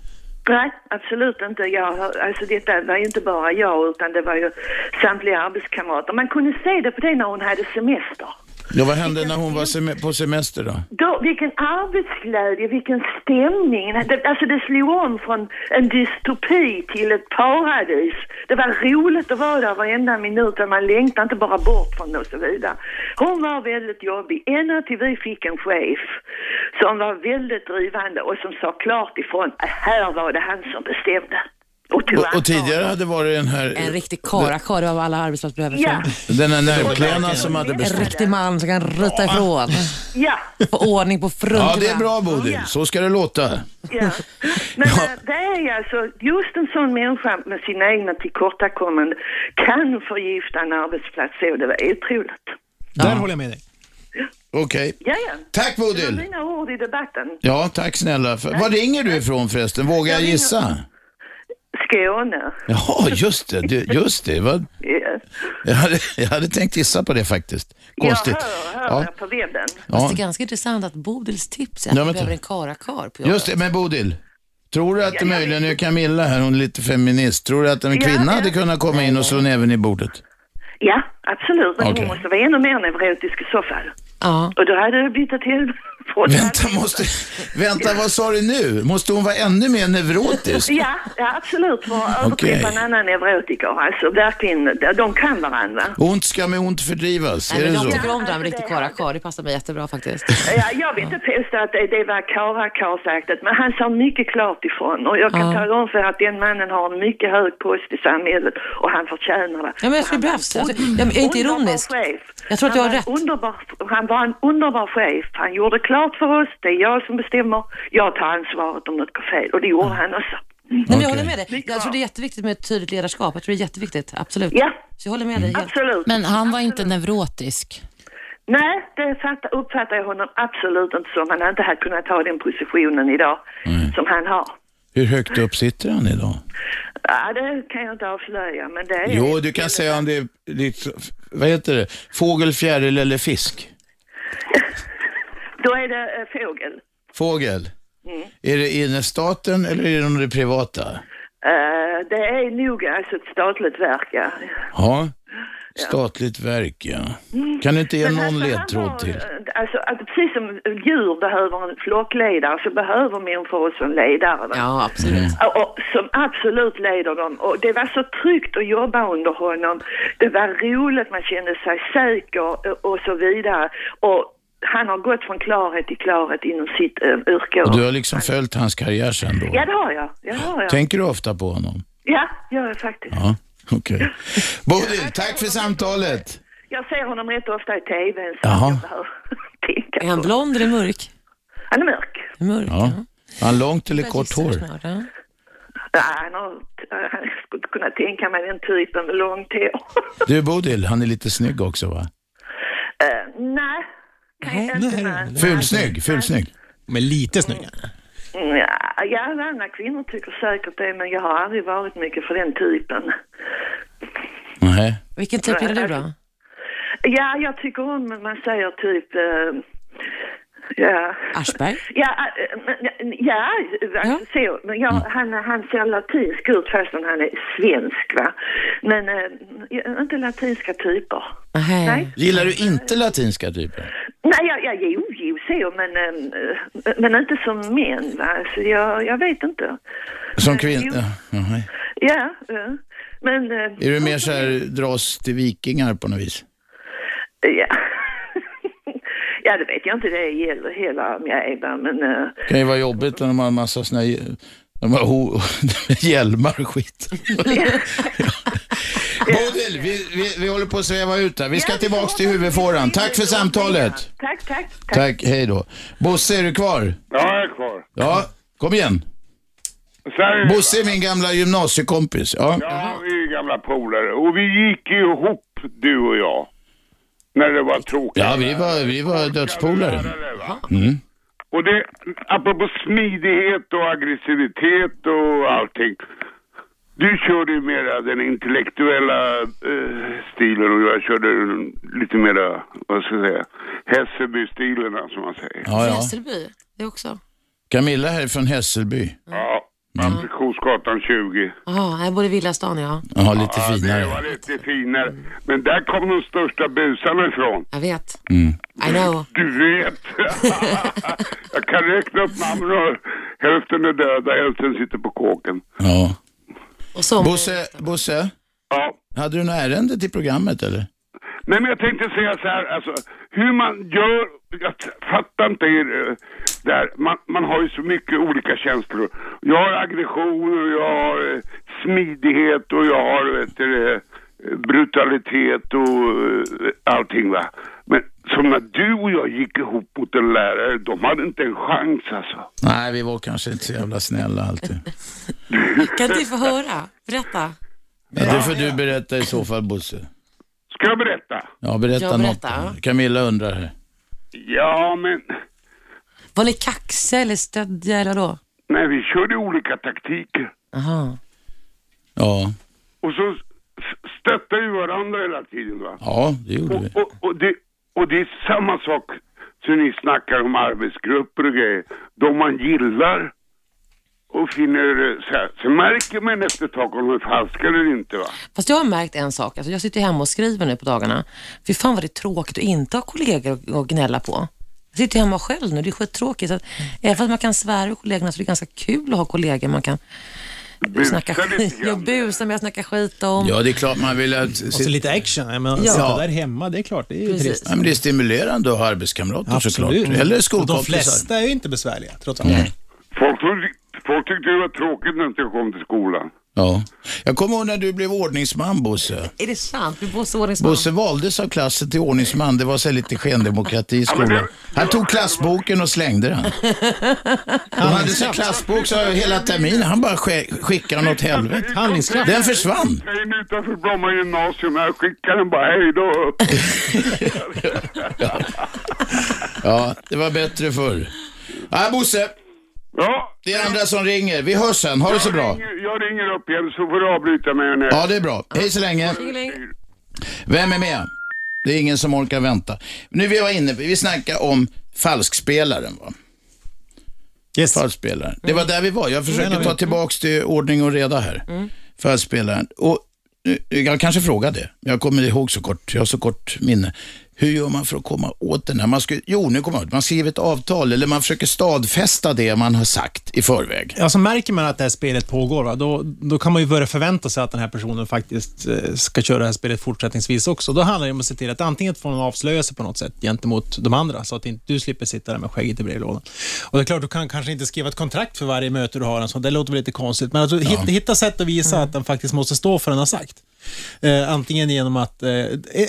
Nej, absolut inte. Jag, har- alltså detta var ju inte bara jag, utan det var ju samtliga arbetskamrater. Man kunde se det på det när hon hade semester.
Ja, vad hände när hon var sem- på semester då?
Då, vilken arbetsglädje, vilken stämning. Det, alltså det slog om från en dystopi till ett paradis. Det var roligt att vara där varenda minut och man längtade inte bara bort från det och så vidare. Hon var väldigt jobbig, ända till vi fick en chef som var väldigt drivande och som sa klart ifrån, här var det han som bestämde. Och
Och, och tidigare hade varit den här...
Eh,
En riktig karakar, det var vad alla arbetsplatser behöver.
Ja.
Den här nervklänan som alltså, hade
En
beställt.
riktig man som kan ruta ifrån.
Ja,
Få ordning på fruntorna.
Ja, det är bra Bodil. Så ska det låta.
ja. Men eh, det är alltså just en sån människa med sina egna tillkortakommanden kan förgifta en arbetsplats så det var otroligt.
Där håller jag med dig.
Okej.
Ja, ja.
Tack
Det var
Bodil.
mina ord i debatten.
Ja, tack snälla. För, var ringer du ifrån förresten? Vågar jag gissa?
Skåne.
Ja,
Eh,
just det. Du- Just det. Vad?
Ja.
Jag, hade, jag hade tänkt gissa på det faktiskt.
Jag
Konstigt.
hör, hör
Ja,
på webben.
Fast
ja.
det är ganska intressant att Bodils tips är att
Ja,
du
vänta.
behöver en karakar på jobbet.
Just det, men Bodil. Tror du att det möjligen är Camilla här, hon är lite feminist. Tror du att en
Ja,
kvinna
ja.
hade kunnat komma in och slå näven i bordet?
Ja, absolut. Men
Okej.
hon måste vara ännu mer neurotisk i så fall.
Ja.
Och då hade det blivit ett *laughs* helvete.
Vänta, måste, vänta, vad sa du nu? Måste hon vara ännu mer neurotisk?
Ja, ja, absolut. För att överträffa
Okej.
en annan neurotiker. Alltså verkligen, de- de kan varandra.
Ont ska med ont fördrivas,
Nej,
är
men
det
jag
så?
tycker om det här med
Ja,
riktig
det är-
karakar. Det passar mig jättebra faktiskt.
Ja, jag vill inte påstå att det, det var karlakarlsaktigt, men han sa mycket klart ifrån. Och jag kan
Ja.
tala om för att den mannen har en mycket hög post i samhället och han förtjänar det.
Ja, men jag skulle bli
Han var
bra. Alltså,
en
jag är inte
underbar
ironisk.
chef.
Jag tror att jag
Han
har
var en
rätt.
Underbar, han var en underbar chef. Han gjorde klart för oss, det är jag som bestämmer. Jag tar ansvaret om något går fel. Och det gjorde han också.
Nej, men jag
Okej.
håller med dig. Jag tror det är jätteviktigt med ett tydligt ledarskap. Jag tror det är jätteviktigt, absolut.
Ja.
Så jag håller med dig helt.
Absolut.
Men han var inte neurotisk.
Nej, det fattar- uppfattar jag honom absolut inte som. Han har inte hade kunnat ta den positionen idag som han har.
Hur högt upp sitter han idag?
Ja, det kan jag inte avslöja, men Eh, det är...
Jo, du kan säga om det är, lite- vad heter det, fågel, fjäril eller fisk?
Då är det eh, fågel.
Fågel.
Mm.
Är det inom staten eller är det inom det privata?
Eh, det är nog alltså ett statligt verk, ja.
Ja, statligt verk ja. Kan du inte ge någon
alltså, han
ledtråd
har,
till?
eh, Alltså, att precis som djur behöver en flockledare så behöver människor också en ledare. va? Mm.
Ja, absolut.
Och, och, som absolut leder dem. Och det var så tryggt att jobba under honom. Det var roligt, man kände sig säker eh, och, och så vidare. Och han har gått från klarhet till klarhet inom sitt eh, yrke.
Och du har liksom följt hans karriär sen då?
Ja, det har jag. Ja, det har jag.
Tänker du ofta på honom?
Ja, gör jag faktiskt.
Ja, *laughs* okej. Bodil, tack för samtalet.
Jag ser honom rätt ofta i TVn. Så
Jaha.
jag behöver tänka
Är han
på.
blond eller mörk?
Han är mörk.
Mörk,
Ja.
ja.
Har han långt eller kort
Gissar
hår?
snart, ja.
Ja, han har, han skulle inte kunna tänka mig den typen med långt hår.
Du Bodil, han är lite snygg också va?
Eh, nej, kan jag
Nej,
inte.
nej,
Nej.
Fulsnygg, fulsnygg.
Men lite snygga.
Mm, Ja, ja, alla andra kvinnor tycker säkert det, men jag har aldrig varit mycket för den typen.
Nej.
Vilken typ gillar du då?
Ja, jag tycker om att man säger typ... eh, ja.
Aschberg?
Ja, eh, men- ja, alltså, så, men jag,
Mm.
han, han ser latinsk ut fastän han är svensk va. Men eh, ja, inte latinska typer.
Nej.
Gillar du inte latinska typer?
Nej, jag, jag, jo, jo, så, men, eh, men inte som män va. Alltså, jag, jag vet inte.
Som kvinna? Nej.
Ja, ja. men... eh,
Är du mer så här dras till vikingar på något vis?
Ja. ja, det vet jag inte det gäller hela om jag är där, men... eh,
Det kan ju vara jobbigt när de har en massa såna här, de har ho, *laughs* hjälmar och
*laughs*
skit. Bodil, vi, vi, vi håller på att sväva ut här. Vi ska
ja,
tillbaks till huvudfåran. Tack för samtalet.
Tack, tack. tack.
Tack, hej då. Bosse, är du kvar?
Ja, jag är kvar.
Ja, kom igen.
Sen,
Bosse är min gamla gymnasiekompis. Ja.
ja, vi är ju gamla polare och vi gick ju ihop du och jag. När det var tråkigt.
Ja, vi var, vi var dödspolare. Mm.
Och det, apropå smidighet och aggressivitet och allting. Du körde ju mera den intellektuella eh, stilen och jag körde den lite mera, vad ska jag säga, Hässelby-stilen alltså, som man säger.
Ja, ja.
Hässelby, det också.
Camilla här är från Hässelby.
Ja, Amfiktionsgatan 20.
Ja, jag bor i villastan, ja.
Ja, lite
Det
finare.
var lite finare. Men där kom de största busarna ifrån.
Jag vet.
Mm.
I know.
Du vet. *laughs* jag kan räkna upp namn och hälften är döda, hälften sitter på kåken.
Ja.
Och så,
Bosse, Bosse,
Ja.
hade du något ärende till programmet eller?
Nej, men jag tänkte säga så här, alltså, hur man gör, jag t- fattar inte er eh, där, man, man har ju så mycket olika känslor. Jag har aggression och jag har eh, smidighet och jag har vet du, det, brutalitet och eh, allting va. Men som när du och jag gick ihop mot en lärare, de hade inte en chans alltså.
Nej, vi var kanske inte så jävla snälla
*laughs*
alltid.
Kan inte vi få höra? Berätta.
Men det får du berätta i så fall, Bosse.
Ska jag berätta?
Ja, berätta,
Ja, berätta.
något. Camilla undrar här.
Ja men,
Var ni kaxiga eller stöddiga eller då?
nej vi körde olika taktiker.
Jaha.
Ja,
Och så s- stöttar vi varandra hela tiden va.
ja det gjorde vi.
Och, och, och, det, och det är samma sak som ni snackar om arbetsgrupper och grejer. De man gillar och finner eh, så här. Så märker man efter ett tag om de är falska eller inte va.
Fast jag har märkt en sak. Alltså jag sitter hemma och skriver nu på dagarna. Fy fan vad det är tråkigt att inte ha kollegor att- att gnälla på. Jag sitter hemma själv nu. Det är skittråkigt. Så att, även fast man kan svära åt kollegorna så är det ganska kul att ha kollegor man kan snacka
Busa lite
skit
grann.
Jag busar med, jag snackar skit om.
Ja, det är klart man vill att...
Och så lite action. Jag menar,
Ja.
sitta där hemma, det är klart. Det är ju
Precis.
trist.
Ja, men det är stimulerande att ha arbetskamrater såklart. Eller
Och De
skolkompisar.
flesta är ju inte besvärliga, trots allt.
Folk, trodde- folk tyckte det var tråkigt när jag inte kom till skolan.
Ja. Jag kommer ihåg när du blev ordningsman, Bosse.
Är det sant? Vi bor så ordningsman.
Bosse valdes av klassen till ordningsman. Det var så här lite skendemokrati i
men
skolan.
det-
Han tog klassboken och
*laughs*
slängde den. De hade sin klassbok så hela terminen. Han bara sk- skickade den åt helvete.
Handlingskraft.
Den försvann.
Jag är nu utanför Bromma gymnasium. Jag skickar den bara hej
*laughs*
då.
Ja, det var bättre förr. Nej, Bosse.
Ja,
Det är andra som ringer. Vi hörs sen. Ha det så bra.
jag ringer- jag ringer upp igen så får du avbryta mig när
Ja, det är bra. Hej så länge. Vem är med? Det är ingen som orkar vänta. Nu vi var inne på, vi snackade om falskspelaren. Va?
Yes.
Falskspelaren. Det var där vi var. Jag
Mm,
försöker
där
ta
vi-
tillbaks till ordning och reda här. Falskspelaren. Och nu- jag kanske frågade, jag kommer ihåg så kort, jag har så kort minne. Hur gör man för att komma åt den här? Man ska, jo, nu kommer jag ihåg. Man skriver ett avtal eller man försöker stadfästa det man har sagt i förväg.
Alltså märker man att det här spelet pågår, va? Då, då kan man ju börja förvänta sig att den här personen faktiskt eh, ska köra det här spelet fortsättningsvis också. Då handlar det om att se till att antingen få en avslöjelse på något sätt gentemot de andra, så att inte du slipper sitta där med skägget i brevlådan. Och det är klart, du kan kanske inte skriva ett kontrakt för varje möte du har, en sån. det låter väl lite konstigt, men alltså, hitta, hitta sätt att visa att den faktiskt måste stå för den har sagt. Eh, antingen genom att... Eh,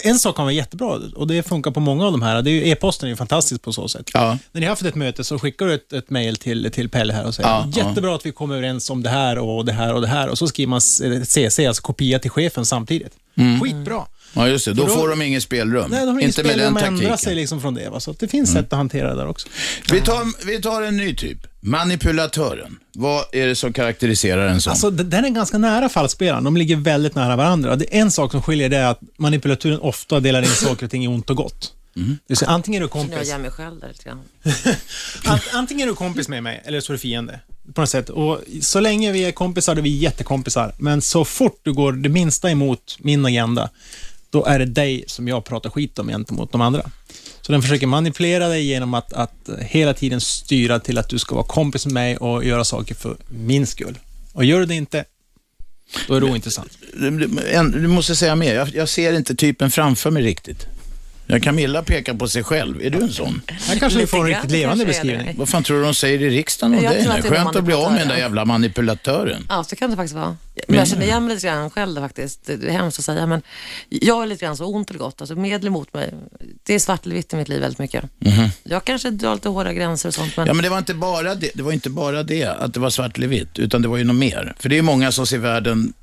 en sak kan vara jättebra och det funkar på många av de här. Det är ju, e-posten är ju fantastisk på så sätt.
Ja.
När ni har haft ett möte så skickar du ett, ett mejl till, till Pelle här och säger
Ja, ja.
jättebra att vi kommer överens om det här och det här och det här och så skriver man s- eh, CC, alltså kopia till chefen samtidigt. Mm. Skitbra.
Mm. Ja, just det. Då,
Och då-
får de inget spelrum.
Nej, de har inget
inte med
spelrum
den
att ändra
taktiken. Mm.
sig liksom från det. Va? Så att det finns sätt att hantera det där också.
Vi tar, vi tar en ny typ. Manipulatören. Vad är det som karaktäriserar en sån?
Alltså, d- den är ganska nära fallspelaren. De ligger väldigt nära varandra. Det är en sak som skiljer det är att manipulaturen ofta delar in saker och ting i ont och gott.
Mm.
Det vill säga, antingen är du
Nu har
kompis
jag mig själv där lite grann.
Ant- antingen är du kompis med mig eller så är du fiende. På något sätt. Och så länge vi är kompisar, då är vi jättekompisar. Men så fort du går det minsta emot min agenda, då är det dig som jag pratar skit om gentemot de andra. Så den försöker manipulera dig genom att, att hela tiden styra till att du ska vara kompis med mig och göra saker för min skull. Och gör du det inte, då är det ointressant.
Du, du- en, du måste säga mer. Jag, jag ser inte typen framför mig riktigt. Jag Camilla pekar på sig själv. Är du en sån?
Här kanske vi
Lite
får en
grann
riktigt levande
kanske är det.
beskrivning.
Vad fan tror du de säger i riksdagen om
Jag
dig
tror
nu?
att det är
Skönt att bli av med den där
manipulatören.
jävla manipulatören.
Ja, så kan det faktiskt vara. Men jag känner igen mig lite grann själv faktiskt. Det är hemskt att säga, men jag är lite grann så ont eller gott. Alltså medel emot mig. Det är svart eller vitt i mitt liv väldigt mycket.
Mhm.
Jag kanske drar lite hårda gränser och sånt, men
Ja, men det var inte bara det, det, var inte bara det att det var svart eller vitt, utan det var ju något mer. För det är ju många som ser världen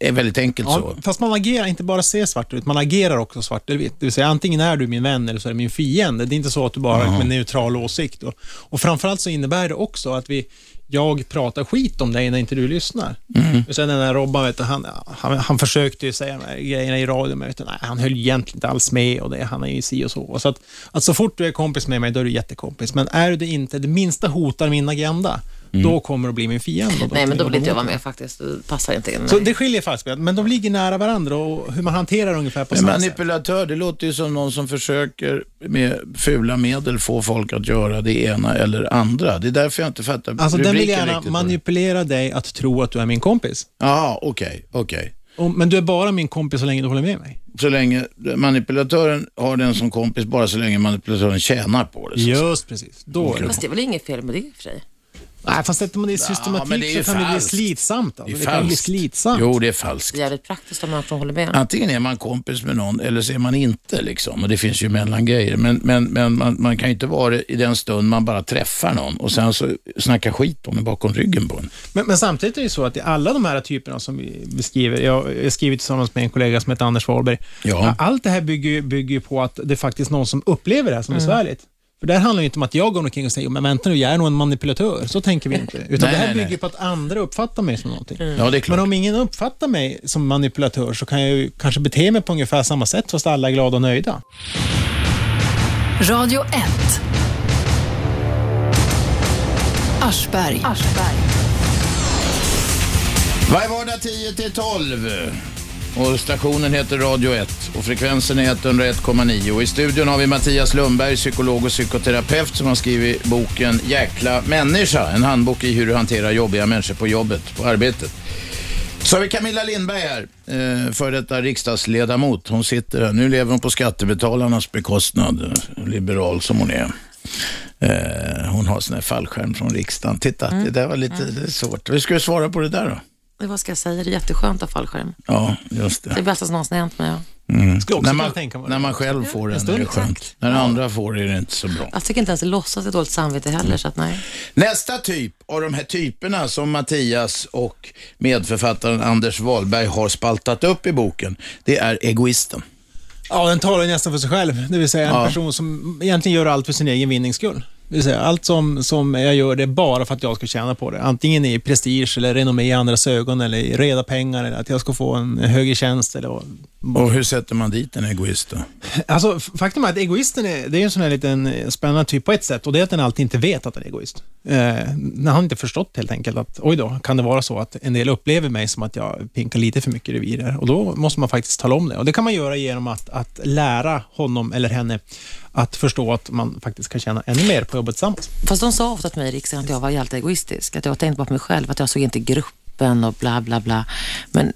är väldigt enkelt
Ja,
så.
fast man agerar, inte bara ser svart ut, man agerar också svart eller vitt. Det vill säga antingen är du min vän eller så är du min fiende. Det är inte så att du bara har en neutral åsikt. Och, och framförallt så innebär det också att vi, jag pratar skit om dig när inte du lyssnar.
Mm.
Och sen den där Robban, vet du, han, han, han försökte ju säga de här grejerna i radio, men vet du, nej, han höll ju egentligen inte alls med och det, han är ju si och så. Och så att, att så fort du är kompis med mig, då är du jättekompis. Men är du det inte, det minsta hotar min agenda,
Mm.
då kommer du bli min fiende. och
nej, men då vill inte jag
mot
vara med faktiskt. Det passar inte in.
så
Nej.
det skiljer falskspel, men de ligger nära varandra och hur man hanterar ungefär på
En
samma sätt.
manipulatör, det låter ju som någon som försöker med fula medel få folk att göra det ena eller andra. Det är därför jag inte fattar
Alltså den vill
rubriken
gärna
riktigt på det.
manipulera dig att tro att du är min kompis.
Ja, okej, okej.
Och, men du är bara min kompis så länge du håller med mig.
Så länge manipulatören har den som kompis, bara så länge manipulatören tjänar på det. så att säga.
Just precis. Då är det.
Fast det är väl inget fel med det i och för sig?
Nej, fast eftersom det är
Ja, men det
systematik
är ju
så kan det bli
falskt.
slitsamt. Alltså.
Det
Det,
är
kan bli
falskt.
slitsamt.
Jo, det är falskt.
Det är jävligt praktiskt om människor håller med.
Antingen är man kompis med någon eller så är man inte. Liksom. Och det finns ju mellangrejer. Men, men, men man, man kan ju inte vara det i den stund man bara träffar någon och sen så snackar skit om den bakom ryggen på en.
Men, men samtidigt är det ju så att i alla de här typerna som vi beskriver, jag jag har skrivit tillsammans med en kollega som heter Anders Wahlberg,
Ja.
allt det här bygger ju bygger ju på att det är faktiskt någon som upplever det här som besvärligt. För där handlar det ju inte om att jag går omkring och säger, men vänta nu, jag är nog en manipulatör. Så tänker vi inte. Utan
Nej,
det här
nej,
bygger
nej.
på att andra uppfattar mig som någonting.
Ja, det är klart.
Men om ingen uppfattar mig som manipulatör så kan jag ju kanske bete mig på ungefär samma sätt fast alla är glada och nöjda.
Radio 1. Aschberg.
Varje vardag 10 till 12. Och stationen heter Radio 1 och frekvensen är 101,9. Och I studion har vi Mattias Lundberg, psykolog och psykoterapeut som har skrivit boken Jäkla människa. En handbok i hur du hanterar jobbiga människor på jobbet, på arbetet. Så har vi Camilla Lindberg här, eh, före detta riksdagsledamot. Hon sitter här. Nu lever hon på skattebetalarnas bekostnad, eh, liberal som hon är. Eh, Hon har sån här fallskärm från riksdagen. Titta, det där var lite det är svårt. Hur ska du svara på det där då?
Det, vad ska jag säga? Det är jätteskönt att ha fallskärm.
Ja, just
Det är
det. Mm.
det bästa som någonsin hänt mig. ja.
Skulle också
När
kunna
man,
tänka mig.
när man själv får den är det skönt. När andra får det är det inte så bra.
Jag tycker inte ens låtsas ett dåligt samvete heller, så att nej.
Nästa typ av de här typerna som Mattias och medförfattaren Anders Wahlberg har spaltat upp i boken, det är egoisten.
Ja, den talar ju nästan för sig själv. Det vill säga en
Ja.
person som egentligen gör allt för sin egen vinnings skull. Det vill säga, allt som, som jag gör det är bara för att jag ska tjäna på det. Antingen i prestige eller renommé i andras ögon eller i reda pengar eller att jag ska få en högre tjänst. Eller vad.
Och hur sätter man dit en egoist då?
Alltså, f- faktum är att egoisten är, det är en sån här liten eh, spännande typ på ett sätt och det är att den alltid inte vet att den är egoist. Eh, när han inte förstått helt enkelt att oj då, kan det vara så att en del upplever mig som att jag pinkar lite för mycket revir här? och då måste man faktiskt tala om det. Och det kan man göra genom att, att lära honom eller henne att förstå att man faktiskt kan tjäna ännu mer på jobbet tillsammans.
Fast de sa ofta till mig i riksdagen att jag var helt egoistisk. Att jag tänkte bara på mig själv, att jag såg inte gruppen och bla bla bla. Men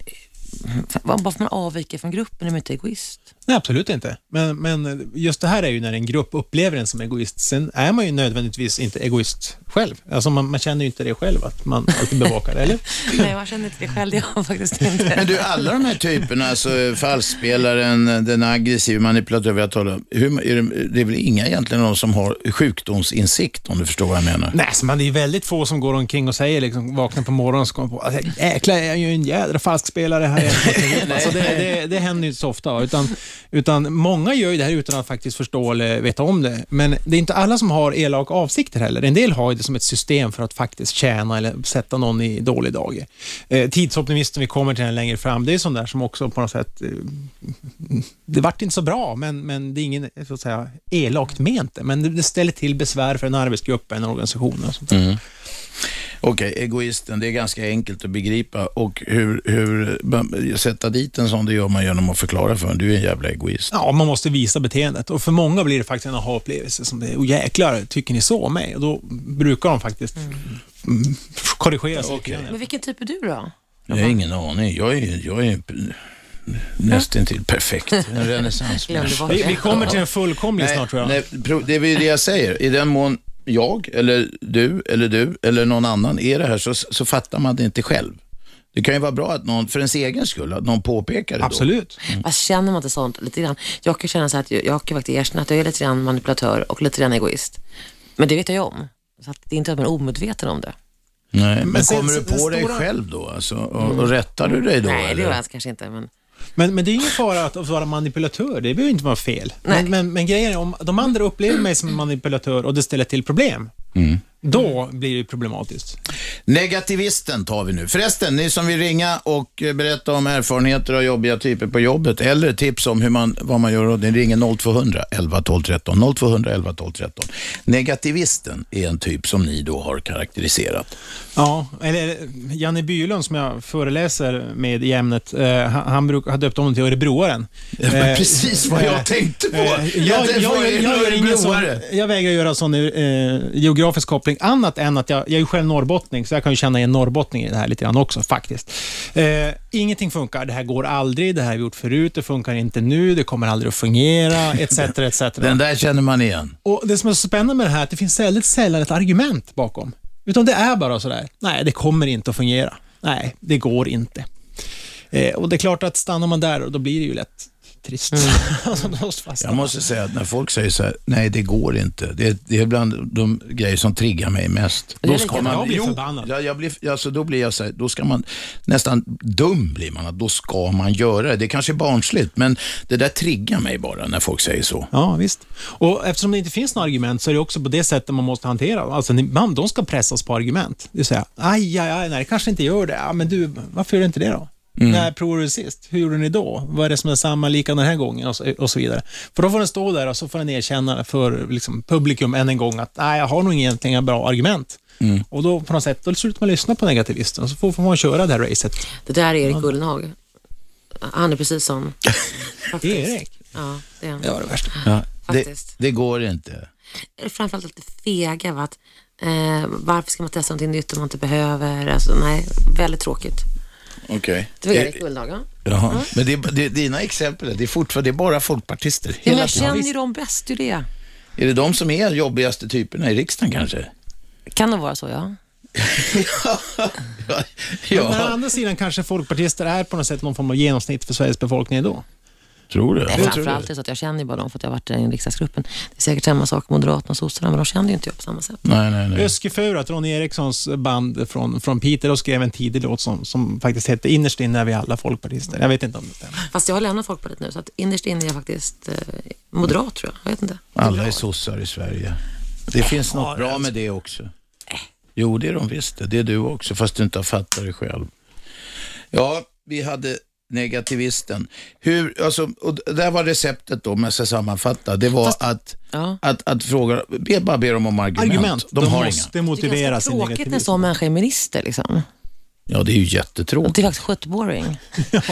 eh, bara för att man avviker från gruppen är man inte egoist.
Nej, absolut inte. Men, men just det här är ju när en grupp upplever en som egoist. Sen är man ju nödvändigtvis inte egoist själv. Alltså man, man känner ju inte det själv, att man alltid bevakar det, eller?
Nej, jag känner inte det själv. Det gör jag faktiskt inte.
Men du, alla de här typerna, alltså falskspelaren, den aggressiva manipulatören vi har talat om, hur, är det, det är väl inga egentligen de som har sjukdomsinsikt om du förstår vad jag menar?
Nej, så man, det är väldigt få som går omkring och säger, liksom, vaknar på morgonen och så kommer på alltså, att jäklar, jag är ju en jädra falskspelare här. i alltså, det, det, det händer ju inte så ofta. Utan, utan många gör ju det här utan att faktiskt förstå eller veta om det. Men det är inte alla som har elaka avsikter heller. En del har ju det som ett system för att faktiskt tjäna eller sätta någon i dålig dager. Eh, tidsoptimisten, vi kommer till den längre fram, det är sånt där som också på något sätt eh, det vart inte så bra, men, men det är ingen så att säga, elakt ment det, men det- det ställer till besvär för en arbetsgrupp, en organisation och sånt. där.
Mm. Okej, egoisten, det är ganska enkelt att begripa. Och hur, hur man- sätta dit en sån, det gör man genom att förklara för en. Du är en jävla egoist.
Ja, man måste visa beteendet och för många blir det faktiskt en aha-upplevelse som det är, oh jäklar, tycker ni så om mig? Och då brukar de faktiskt mm, korrigera sig. lite grann.
Men vilken typ är du då?
Jag har ingen aning. Jag är, jag är p- nästintill
*laughs*
perfekt. En
Glömde
renässansmänniska.
vad
Vi, vi kommer till en fullkomlig snart tror jag.
nej, pro- det är ju det jag säger. I den mån jag, eller du, eller du, eller någon annan är det här så, så fattar man det inte själv. Det kan ju vara bra att någon, för ens egen skull, att någon påpekar det då.
Absolut.
Alltså, känner man inte sånt lite grann? Jag kan känna så här att jag, jag kan faktiskt erkänna att jag är lite grann manipulatör och lite grann egoist. Men det vet jag ju om. Så att det är inte att man är omedveten om det.
Nej, men,
Men sen-
kommer du
sen-
på dig
stora-
själv då? Alltså,
Mm.
och, och rättar du dig då?
Nej, det
eller?
gör jag alltså kanske inte. Men
Men, men det är ingen fara att, att vara manipulatör, det behöver inte vara fel.
Nej.
Men, men, men grejen är, om de andra upplever mig som en manipulatör och det ställer till problem,
Mm.
då blir det ju problematiskt.
Negativisten tar vi nu. Förresten, ni som vill ringa och eh, berätta om erfarenheter av jobbiga typer på jobbet eller tips om hur man, vad man gör, åt det, ringer 0200 11 12 13. 0200 11 12 13. Negativisten är en typ som ni då har karaktäriserat.
Ja, eller Janne Bylund som jag föreläser med i ämnet, eh, han, han bruk, har döpt om den till Örebroaren.
Det var
Eh,
precis vad jag
eh,
tänkte på.
eh, jag,
det
jag,
var
jag,
en
jag, gör ingen sån,
örebroare.
jag vägrar göra sån eh, geografisk koppling, annat än att jag, jag är ju själv norrbottning, så jag kan ju känna igen norrbottning i det här lite grann också faktiskt. Eh, ingenting funkar, det här går aldrig, det här har vi gjort förut, det funkar inte nu, det kommer aldrig att fungera, etc. etc.
*laughs* Den där känner man igen.
Och Det som är så spännande med det här är att det finns väldigt sällan ett argument bakom. Utan det är bara sådär, nej det kommer inte att fungera. Nej, det går inte. Eh, och det är klart att stannar man där, då blir det ju lätt trist.
Mm.
*laughs* alltså, då fastnar
Jag måste säga att när folk säger så här, nej det går inte. Det, det är bland de grejer som triggar mig mest.
är lika
bra att bli förbannad.
Ja, jag blir, alltså, då blir jag så här, då ska man, nästan dum blir man, att då ska man göra det. Det kanske är barnsligt, men det där triggar mig bara när folk säger så.
Ja, visst. Och eftersom det inte finns några argument så är det också på det sättet man måste hantera. Alltså, ni- man, de ska pressas på argument. Det vill säga, aj, aj, aj, nej, det kanske inte gör det. Ja, men du, varför gör det inte det då?
Mm.
När provade du sist? Hur gjorde ni då? Vad är det som är samma, lika den här gången? Och så, och så vidare. För då får den stå där och så får den erkänna för liksom, publikum än en gång att, nej, jag har nog egentligen inga bra argument. Och då på något sätt, då slutar man lyssna på negativisten och så får, får man köra det här racet.
Det där är Erik Ullenhag. Han är precis
*laughs*
Mm.
sån. *laughs* Faktiskt.
Det är Erik.
Ja, det är han.
Det var det värsta.
Ja, det,
Faktiskt.
det går inte.
är framförallt lite fega. Va? Att, eh, varför ska man testa någonting nytt om man inte behöver? Alltså, nej, väldigt tråkigt.
Okej.
Det var Mm. Erik Ullenhag, ja.
Jaha. Eh, Men det, det, dina exempel, det är fortfarande det är bara folkpartister.
Ja, men
Hela
Jag
tiden.
känner ju dem bäst, det är det.
Är det de som är jobbigaste typerna i riksdagen kanske?
Kan det vara så, ja.
ja.
Men å
ja.
andra sidan kanske folkpartister är på något sätt någon form av genomsnitt för Sveriges befolkning då.
Tror du?
Nej, framförallt är det så att jag känner ju bara dem för att jag har varit där i riksdagsgruppen. Det är säkert samma sak Moderaterna och sossarna, men de känner ju inte jag på samma sätt.
Nej, nej, nej.
Öskefurat, Ronny Erikssons band från, från Peter, och skrev en tidig låt som, som faktiskt hette Innerst inne är vi alla folkpartister. Jag vet inte om det stämmer.
Fast jag har lämnat Folkpartiet nu, så att innerst inne är jag faktiskt eh, moderat, tror jag. Jag vet inte.
Alla är sossar i Sverige. Det finns något bra med det också. Jo, det är de visst det. Det är du också, fast du inte har fattat det själv. Ja, vi hade negativisten. Hur, alltså, och där var receptet då, om jag ska sammanfatta. Det var att,
Ja.
att, att fråga, be, bara be dem om argument.
Argument,
De, har
måste
inga.
Det är
motivera
ganska
sin
tråkigt när en
negativism.
sån människa är minister. Liksom.
Ja, det är ju jättetråkigt.
Det är faktiskt skitboring.
Ja,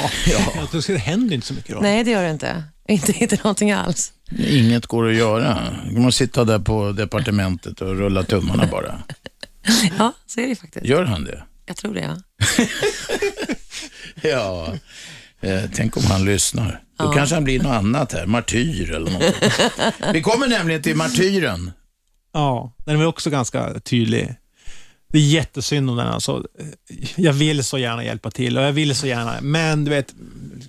Jag tror Det händer ju inte så mycket då.
Nej, det gör det inte. *laughs* Inte, inte någonting alls. *laughs*
Inget går att göra. Man sitta där på departementet och rulla tummarna
*laughs*
bara.
Ja, så är det ju faktiskt.
Gör han det?
Jag tror det, ja.
*laughs* Ja, eh, tänk om han lyssnar. Då kanske han blir något annat här, martyr eller något.
*laughs*
Vi kommer nämligen till martyren.
Ja, den är också ganska tydlig. Det är jättesynd om den. Alltså, jag vill så gärna hjälpa till och jag vill så gärna, men du vet,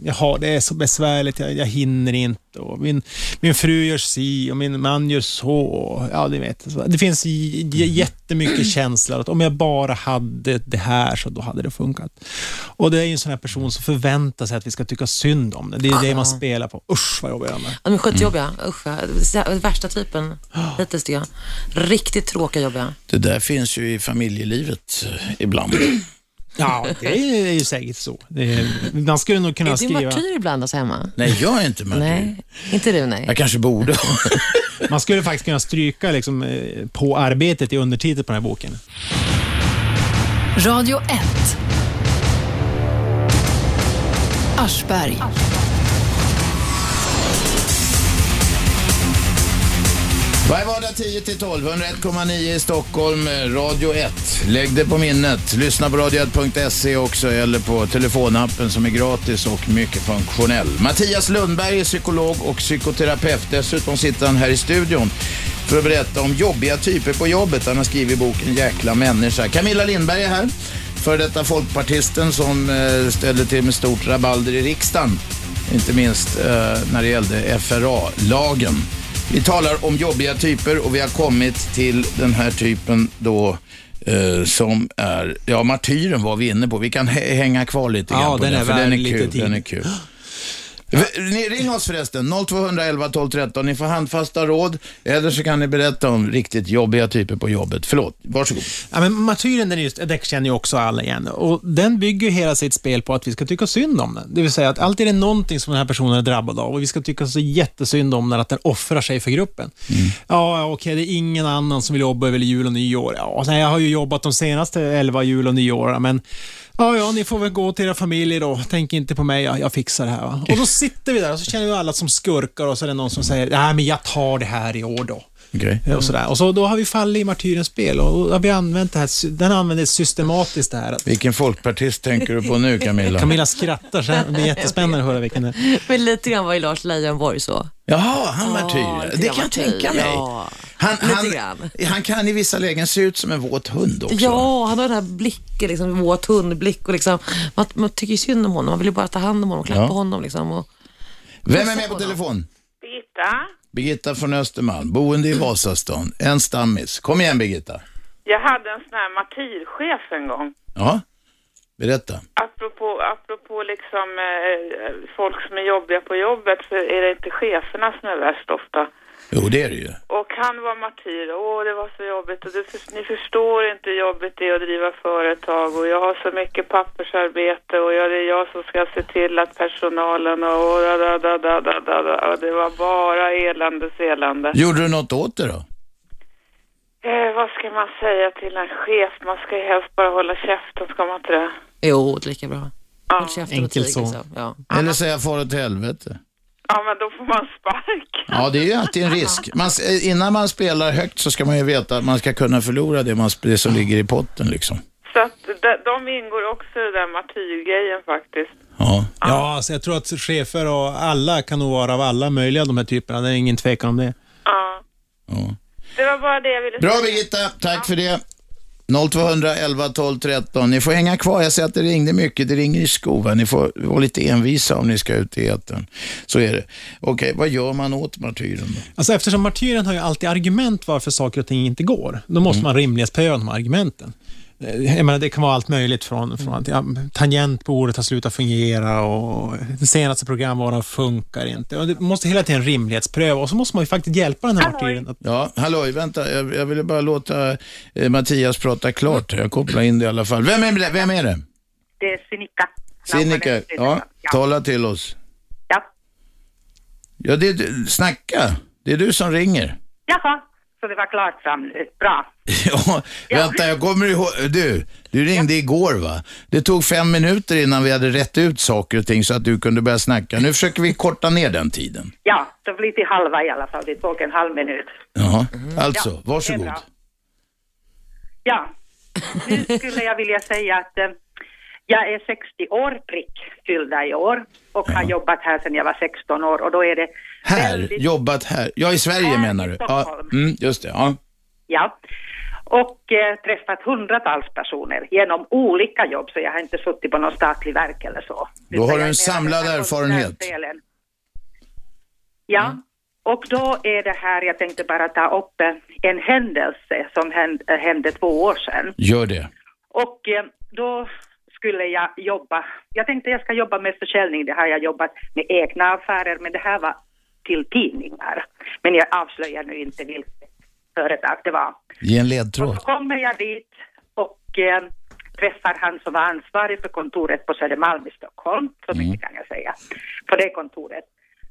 jag har, det är så besvärligt, jag, jag hinner inte. Och min, min fru gör si och min man gör så. Ja, du vet, så. Det finns j- j-
Mm.
jättemycket känslor att om jag bara hade det här så då hade det funkat. Och det är ju en sån här person som förväntar sig att vi ska tycka synd om det. Det är ju det man spelar på. Usch vad jobbar jag med.
Ja, De är
Mm.
skitjobbiga.
Mm.
Usch, ja. Sä- värsta
*gasps*
typen hittills tycker jag. Riktigt tråkiga jobbiga.
Det där finns ju i familjelivet eh, ibland.
Ja, det är ju
*laughs*
säkert så. Det är, man skulle nog kunna
Är du
skriva...
martyr ibland alltså hemma?
Nej, jag är inte martyr.
Nej, inte du nej. *laughs*
Jag kanske borde ha.
*laughs* Man skulle faktiskt kunna stryka liksom, eh, på arbetet i undertiteln på den här boken.
Radio 1. Aschberg.
Varje vardag 10 till 12, 101,9 i Stockholm, eh, Radio 1. Lägg det på minnet. Lyssna på radio1.se också eller på telefonappen som är gratis och mycket funktionell. Mattias Lundberg är psykolog och psykoterapeut. Dessutom sitter han här i studion för att berätta om jobbiga typer på jobbet. Han har skrivit boken Jäkla människa. Camilla Lindberg är här, för detta folkpartisten som eh, ställde till med stort rabalder i riksdagen. Inte minst eh, när det gällde FRA-lagen. Vi talar om jobbiga typer och vi har kommit till den här typen då eh, som är, ja martyren var vi inne på. Vi kan hä- hänga kvar lite
Ja,
grann på
den
den,
är
för
värd
den är
lite
kul.
tid.
Den är kul. Ni ring oss förresten, 0211 12 13. Ni får handfasta råd eller så kan ni berätta om riktigt jobbiga typer på jobbet. Förlåt, varsågod.
Ja, men martyren, den, är just, den känner ju också alla igen. Och den bygger ju hela sitt spel på att vi ska tycka synd om den. Det vill säga att alltid är det någonting som den här personen är drabbad av och vi ska tycka så jättesynd om den att den offrar sig för gruppen.
Mm.
Ja, ja, okej, det är ingen annan som vill jobba över jul och nyår. Ja, nej, jag har ju jobbat de senaste 11 jul och nyår, men Ja, ja, ni får väl gå till era familjer då. Tänk inte på mig, jag, jag fixar det här. Va? Och då sitter vi där och så känner vi alla som skurkar och så är det någon som säger, nej men jag tar det här i år då.
Okej.
Och, sådär. och så Då har vi fallit i martyrens spel och och har vi använt det här, sy- den använder systematiskt det här. Att
Vilken folkpartist tänker du på nu Camilla?
Camilla skrattar, så det blir jättespännande att höra vilken det är.
Men lite grann var ju Lars Leijonborg så.
Jaha, han
Ja,
martyr.
lite
Det
grann
kan jag
martyr,
tänka mig.
ja.
Han,
Lite
han,
grann.
han kan i vissa lägen se ut som en våt hund också.
Ja, han har den här blicken, liksom, våt hundblick. Och liksom, man, man tycker ju synd om honom. Man vill ju bara ta hand om honom och klappa
Ja.
honom. Liksom, och,
Vem är med på telefon?
Birgitta?
Birgitta från Östermalm, boende i Vasastan. En stammis. Kom igen Birgitta.
Jag hade en sån här martyrchef en gång.
Ja, berätta.
Apropå, apropå liksom eh, folk som är jobbiga på jobbet så är det inte cheferna som är värst ofta.
Jo, det är det ju.
Och han var martyr. Åh, det var så jobbigt. Och du, för- ni förstår inte hur jobbigt det är att driva företag. Och jag har så mycket pappersarbete. Och jag, det är jag som ska se till att personalen... Och, och, da, da, da, da, da, da, da. och det var bara eländes elände.
Gjorde du något åt det då?
Eh, vad ska man säga till en chef? Man ska ju helst bara hålla käften, ska man inte det?
jo, det är lika bra. Håll käften och tig,
Enkelt så.
liksom. ja.
Eller säga far åt helvete?
Ja, men då får man spark.
Ja, det är ju alltid en risk. Man, s- eh, innan man spelar högt så ska man ju veta att man ska kunna förlora det, man, sp- det som ligger i potten liksom.
Så att de, de ingår också i den där martyrgrejen faktiskt.
Ja.
Ja, alltså jag tror att chefer och alla kan nog vara av alla möjliga de här typerna. Det är ingen tvekan om det.
Ja. Det var bara det jag ville
Bra
säga.
Birgitta, tack för det. 0200 11 12 13. Ni får hänga kvar. Jag ser att det ringde mycket. Det ringer i skoven. Ni får vara lite envisa om ni ska ut i etern. Så är det. Okej, vad gör man åt martyren då?
Alltså eftersom martyren har ju alltid argument varför saker och ting inte går, då
Mm.
måste man rimlighetspröva de här argumenten. Eh, Jag menar, det kan vara allt möjligt från, från att ja, tangentbordet har slutat fungera och den senaste programvaran funkar inte. Och det måste hela tiden rimlighetspröva och så måste man ju faktiskt hjälpa den här martyren. Att,
Ja, hallå, vänta. Jag, jag ville bara låta eh, Mattias prata klart. Jag kopplar in det i alla fall. Vem är det? Vem är det?
Det är Sinikka.
Sinikka? Ja, tala till oss.
Ja.
Ja, det är du. Snacka. Det är du som ringer.
Jaha, så det var klart fram nu. Bra.
*laughs* Ja, vänta, jag kommer ihåg. Du, du ringde igår va? Det tog fem minuter innan vi hade rätt ut saker och ting så att du kunde börja snacka. Nu försöker vi korta ner den tiden.
Ja, då blir det halva i alla fall. Det är två och en halv minut.
Jaha, alltså,
Mm. Ja, det
varsågod.
är bra. Ja, nu skulle jag vilja säga att eh, jag är 60 år prick fyllda i år och har jobbat här sedan jag var 16 år och då är det
Här, jobbat här. Ja, i Sverige menar du? Ja, mm, just det. Ja.
Ja. Och eh, träffat hundratals personer genom olika jobb, så jag har inte suttit på någon statlig verk eller så.
Då har du en samlad erfarenhet.
Delen. Ja, och då är det här, jag tänkte bara ta upp eh, en händelse som hände, hände två år sedan.
Gör det.
Och eh, då skulle jag jobba, jag tänkte jag ska jobba med försäljning, det har jag jobbat med egna affärer, men det här var till tidningar. Men jag avslöjar nu inte vilket företag det var.
Ge en ledtråd.
Så kommer jag dit och eh, träffar han som var ansvarig för kontoret på Södermalm i Stockholm, så mycket kan jag säga, på det kontoret.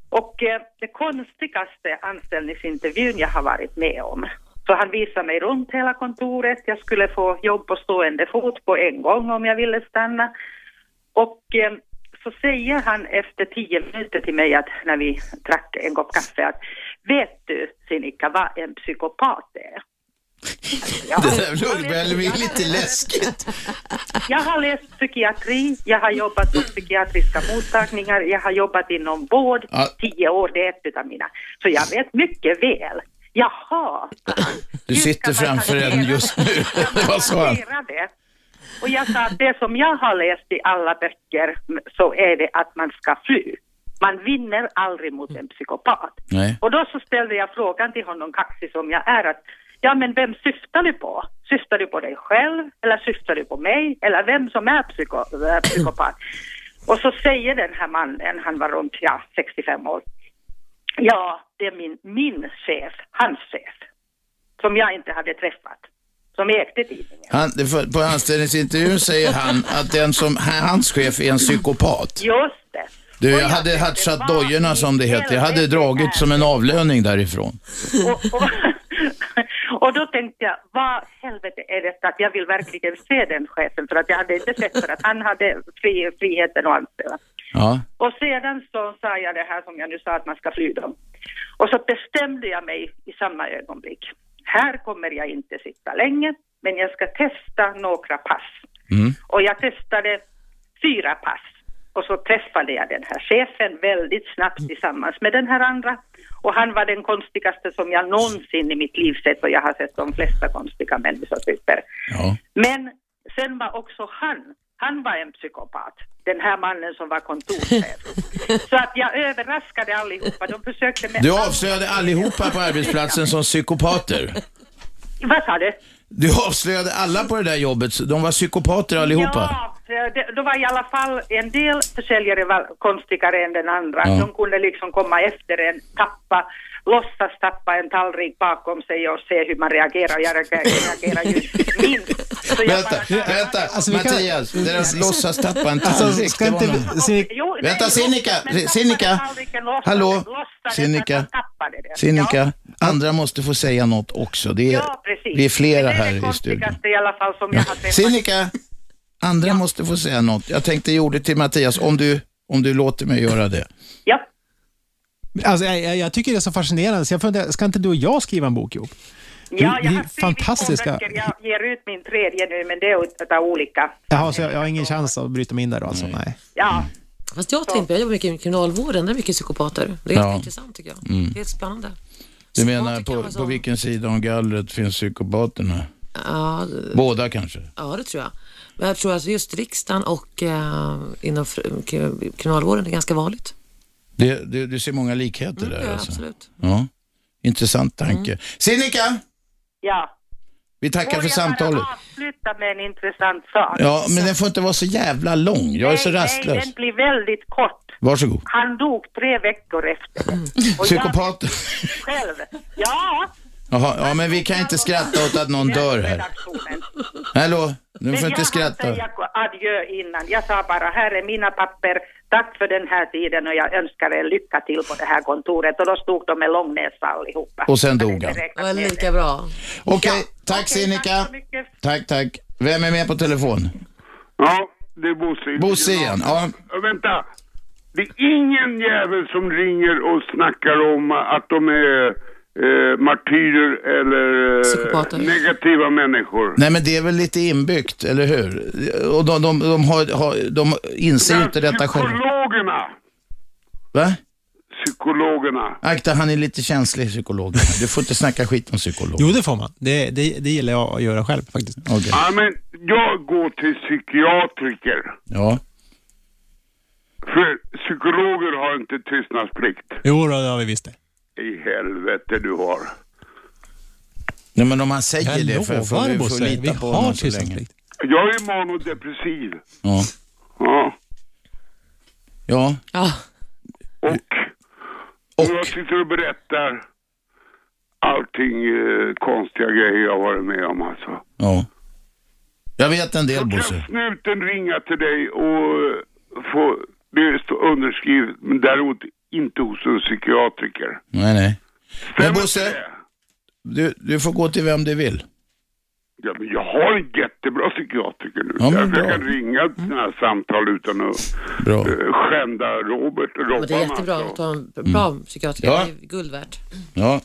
Och eh, det konstigaste anställningsintervjun jag har varit med om. Så han visade mig runt hela kontoret, jag skulle få jobb på stående fot på en gång om jag ville stanna. Och eh, så säger han efter tio minuter till mig att, när vi drack en kopp kaffe att Vet du Sinikka vad en psykopat är?
*laughs* Det där låg väl lite läskigt.
Jag har läst psykiatri, jag har jobbat på psykiatriska mottagningar, jag har jobbat inom vård,
Ja.
tio år, det är ett utav mina. Så jag vet mycket väl. Jaha,
Du sitter framför en just nu. *laughs* Vad sa han?
notera det. Och jag sa att det som jag har läst i alla böcker m, så är det att man ska fly. Man vinner aldrig mot en psykopat.
Nej.
Och då så ställde jag frågan till honom, kaxig som jag är, att ja men vem syftar du på? Syftar du på dig själv eller syftar du på mig eller vem som är psyko, äh, psykopat? Och så säger den här mannen, han var runt ja, 65 år, ja det är min, min chef, hans chef, som jag inte hade träffat, som ägde tidningen.
Han, det för- på anställningsintervjun säger han att den som, hans chef är en psykopat.
Just det.
Du, jag hade hatchat dojorna som det heter. Jag hade dragit som en avlöning därifrån.
Och, *laughs* och, och då tänkte jag, vad helvete är detta att jag vill verkligen se den chefen för att jag hade inte sett för att han hade fri, friheten att anställa.
Ja.
Och sedan så sa jag det här som jag nu sa att man ska fly dem. Och så bestämde jag mig i samma ögonblick. Här kommer jag inte sitta länge, men jag ska testa några pass.
Mm.
Och jag testade fyra pass. Och så träffade jag den här chefen väldigt
Mm.
snabbt tillsammans med den här andra. Och han var den konstigaste som jag någonsin i mitt liv sett och jag har sett de flesta konstiga människotyper.
Ja.
Men sen var också han, han var en psykopat. Den här mannen som var
*laughs*
kontorschef. Så att jag överraskade allihopa. De försökte med...
Du avslöjade allihopa på arbetsplatsen som psykopater.
Vad sa du?
Du avslöjade alla på det där jobbet, de var psykopater allihopa.
Ja, för det, då var i alla fall en del försäljare var konstigare än den andra.
Ja.
De kunde liksom komma efter en, tappa, låtsas tappa en tallrik bakom sig och se hur man reagerar. Jag reagerar, reagerar ju minst. Så jag
Vänta, vänta, Mattias, deras låtsas tappa en
Alltså,
tallrik.
ska
det var
inte-
någon-
Sinik-
Jo, nej,
Vänta, Sinikka,
men tappade
Sinikka,
tallriken, låtsades-
hallå,
låtsades
Sinikka,
att man tappade det.
Sinikka, andra måste få säga något också. Det är,
Ja, precis.
vi är flera
Men det är
här
det
i studion.
konstigaste i alla fall som jag har träffat.
Sinikka, andra måste få säga något. Jag tänkte ge ordet till Mattias, om du, om du låter mig göra det.
Ja.
Alltså, jag, jag- jag tycker det är så fascinerande, så jag funderar, ska inte du och jag skriva en bok ihop? Du-
Ja, jag
ni
har
är
skrivit två
fantastiska.
böcker. Jag ger ut min tredje nu, men det är utav olika.
Jaha, så jag, jag har ingen chans att bryta mig in där då alltså? Nej.
Ja,
Fast jag tänkte, jag jobbar mycket med kriminalvården, där är mycket psykopater. Det är
Ja.
ja. intressant tycker jag.
Mm.
Det är spännande.
Du menar på, på vilken sida om gallret finns psykopaterna?
Ja,
Båda kanske?
ja, det tror jag. Men jag tror att just riksdagen och eh, inom fr- k- kriminalvården är ganska vanligt. Mm,
Det, du, du ser många likheter där
ja,
alltså?
absolut.
Ja, intressant tanke. Sinikka,
ja.
vi
Får
tackar för
Mm. jag bara
samtalet.
avsluta med en intressant sak?
Ja, men den får inte vara så jävla lång. Jag är så
Nej, Nej,
rastlös.
den blir väldigt kort.
Varsågod.
Han dog tre veckor efter det. Och
Psykopat.
jag själv. Ja,
Jaha, ja men vi kan inte skratta åt att någon dör här.
redaktionen.
Hallå, nu
Men
får
jag
inte
hann
skratta.
säga adjö innan. Jag sa bara, här är mina papper. Tack för den här tiden och jag önskar er lycka till på det här kontoret. Och då stod de med lång näsa allihopa.
Och sen dog han.
Det var lika bra.
Okej, tack Sinikka. Tack, tack. Vem är med på telefon?
Ja, det är Bosse.
Bosse igen, ja.
Ja, Vänta. Det är ingen jävel som ringer och snackar om att de är eh, martyrer eller eh, negativa människor.
Nej men det är väl lite inbyggt, eller hur? Och de, de, de, har, har, de inser ju inte detta själva.
Psykologerna!
Va?
Psykologerna.
Akta, han är lite känslig psykolog. Du får inte snacka skit om psykolog.
Jo, det får man. Det, det, det gillar jag att göra själv faktiskt.
Okej.
Ja, men jag går till psykiatriker.
Ja.
För psykologer har inte tystnadsplikt.
Jo, då, det har vi visst det.
I helvete du har.
Nej men om han säger
Jag
det, för får
lovar,
vi får
Bosse,
lita
vi
på
har
honom så länge.
tystnadsplikt.
Jag är manodepressiv.
Ja.
Ja.
Ja.
Och jag sitter och berättar allting eh, konstiga grejer jag varit med om alltså.
Ja. Jag vet en del,
Kan
Bosse.
snuten ringa till dig och eh, få det står underskrivet men däremot inte hos en psykiatriker.
Nej, nej.
Stämmer
Men Bosse, du, du får gå till vem du vill. Mm.
Ja, men jag har en jättebra psykiatriker nu.
Ja, men
Därför jag
bra.
kan ringa till sådana här samtal utan att
Bra.
eh, skända Robert och
Ja, men det är
Robban.
jättebra
alltså.
att ha en bra psykiatriker.
Ja.
Det är guld värt.
Ja.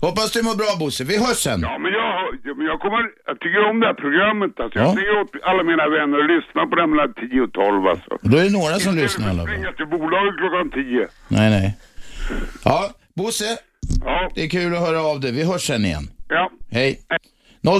Hoppas du mår bra, Bosse. Vi hörs sen.
Ja, men jag, har- ja, men jag, kommer, jag tycker om det här programmet. Alltså. Jag säger åt alla mina vänner att lyssna på dem mellan 10 och 12. Alltså.
Då är det några som lyssnar i alla fall.
Ringa till bolaget klockan 10.
Nej, nej. Ja, Bosse.
Ja.
Det är kul att höra av dig. Vi hörs sen igen.
Ja.
Hej.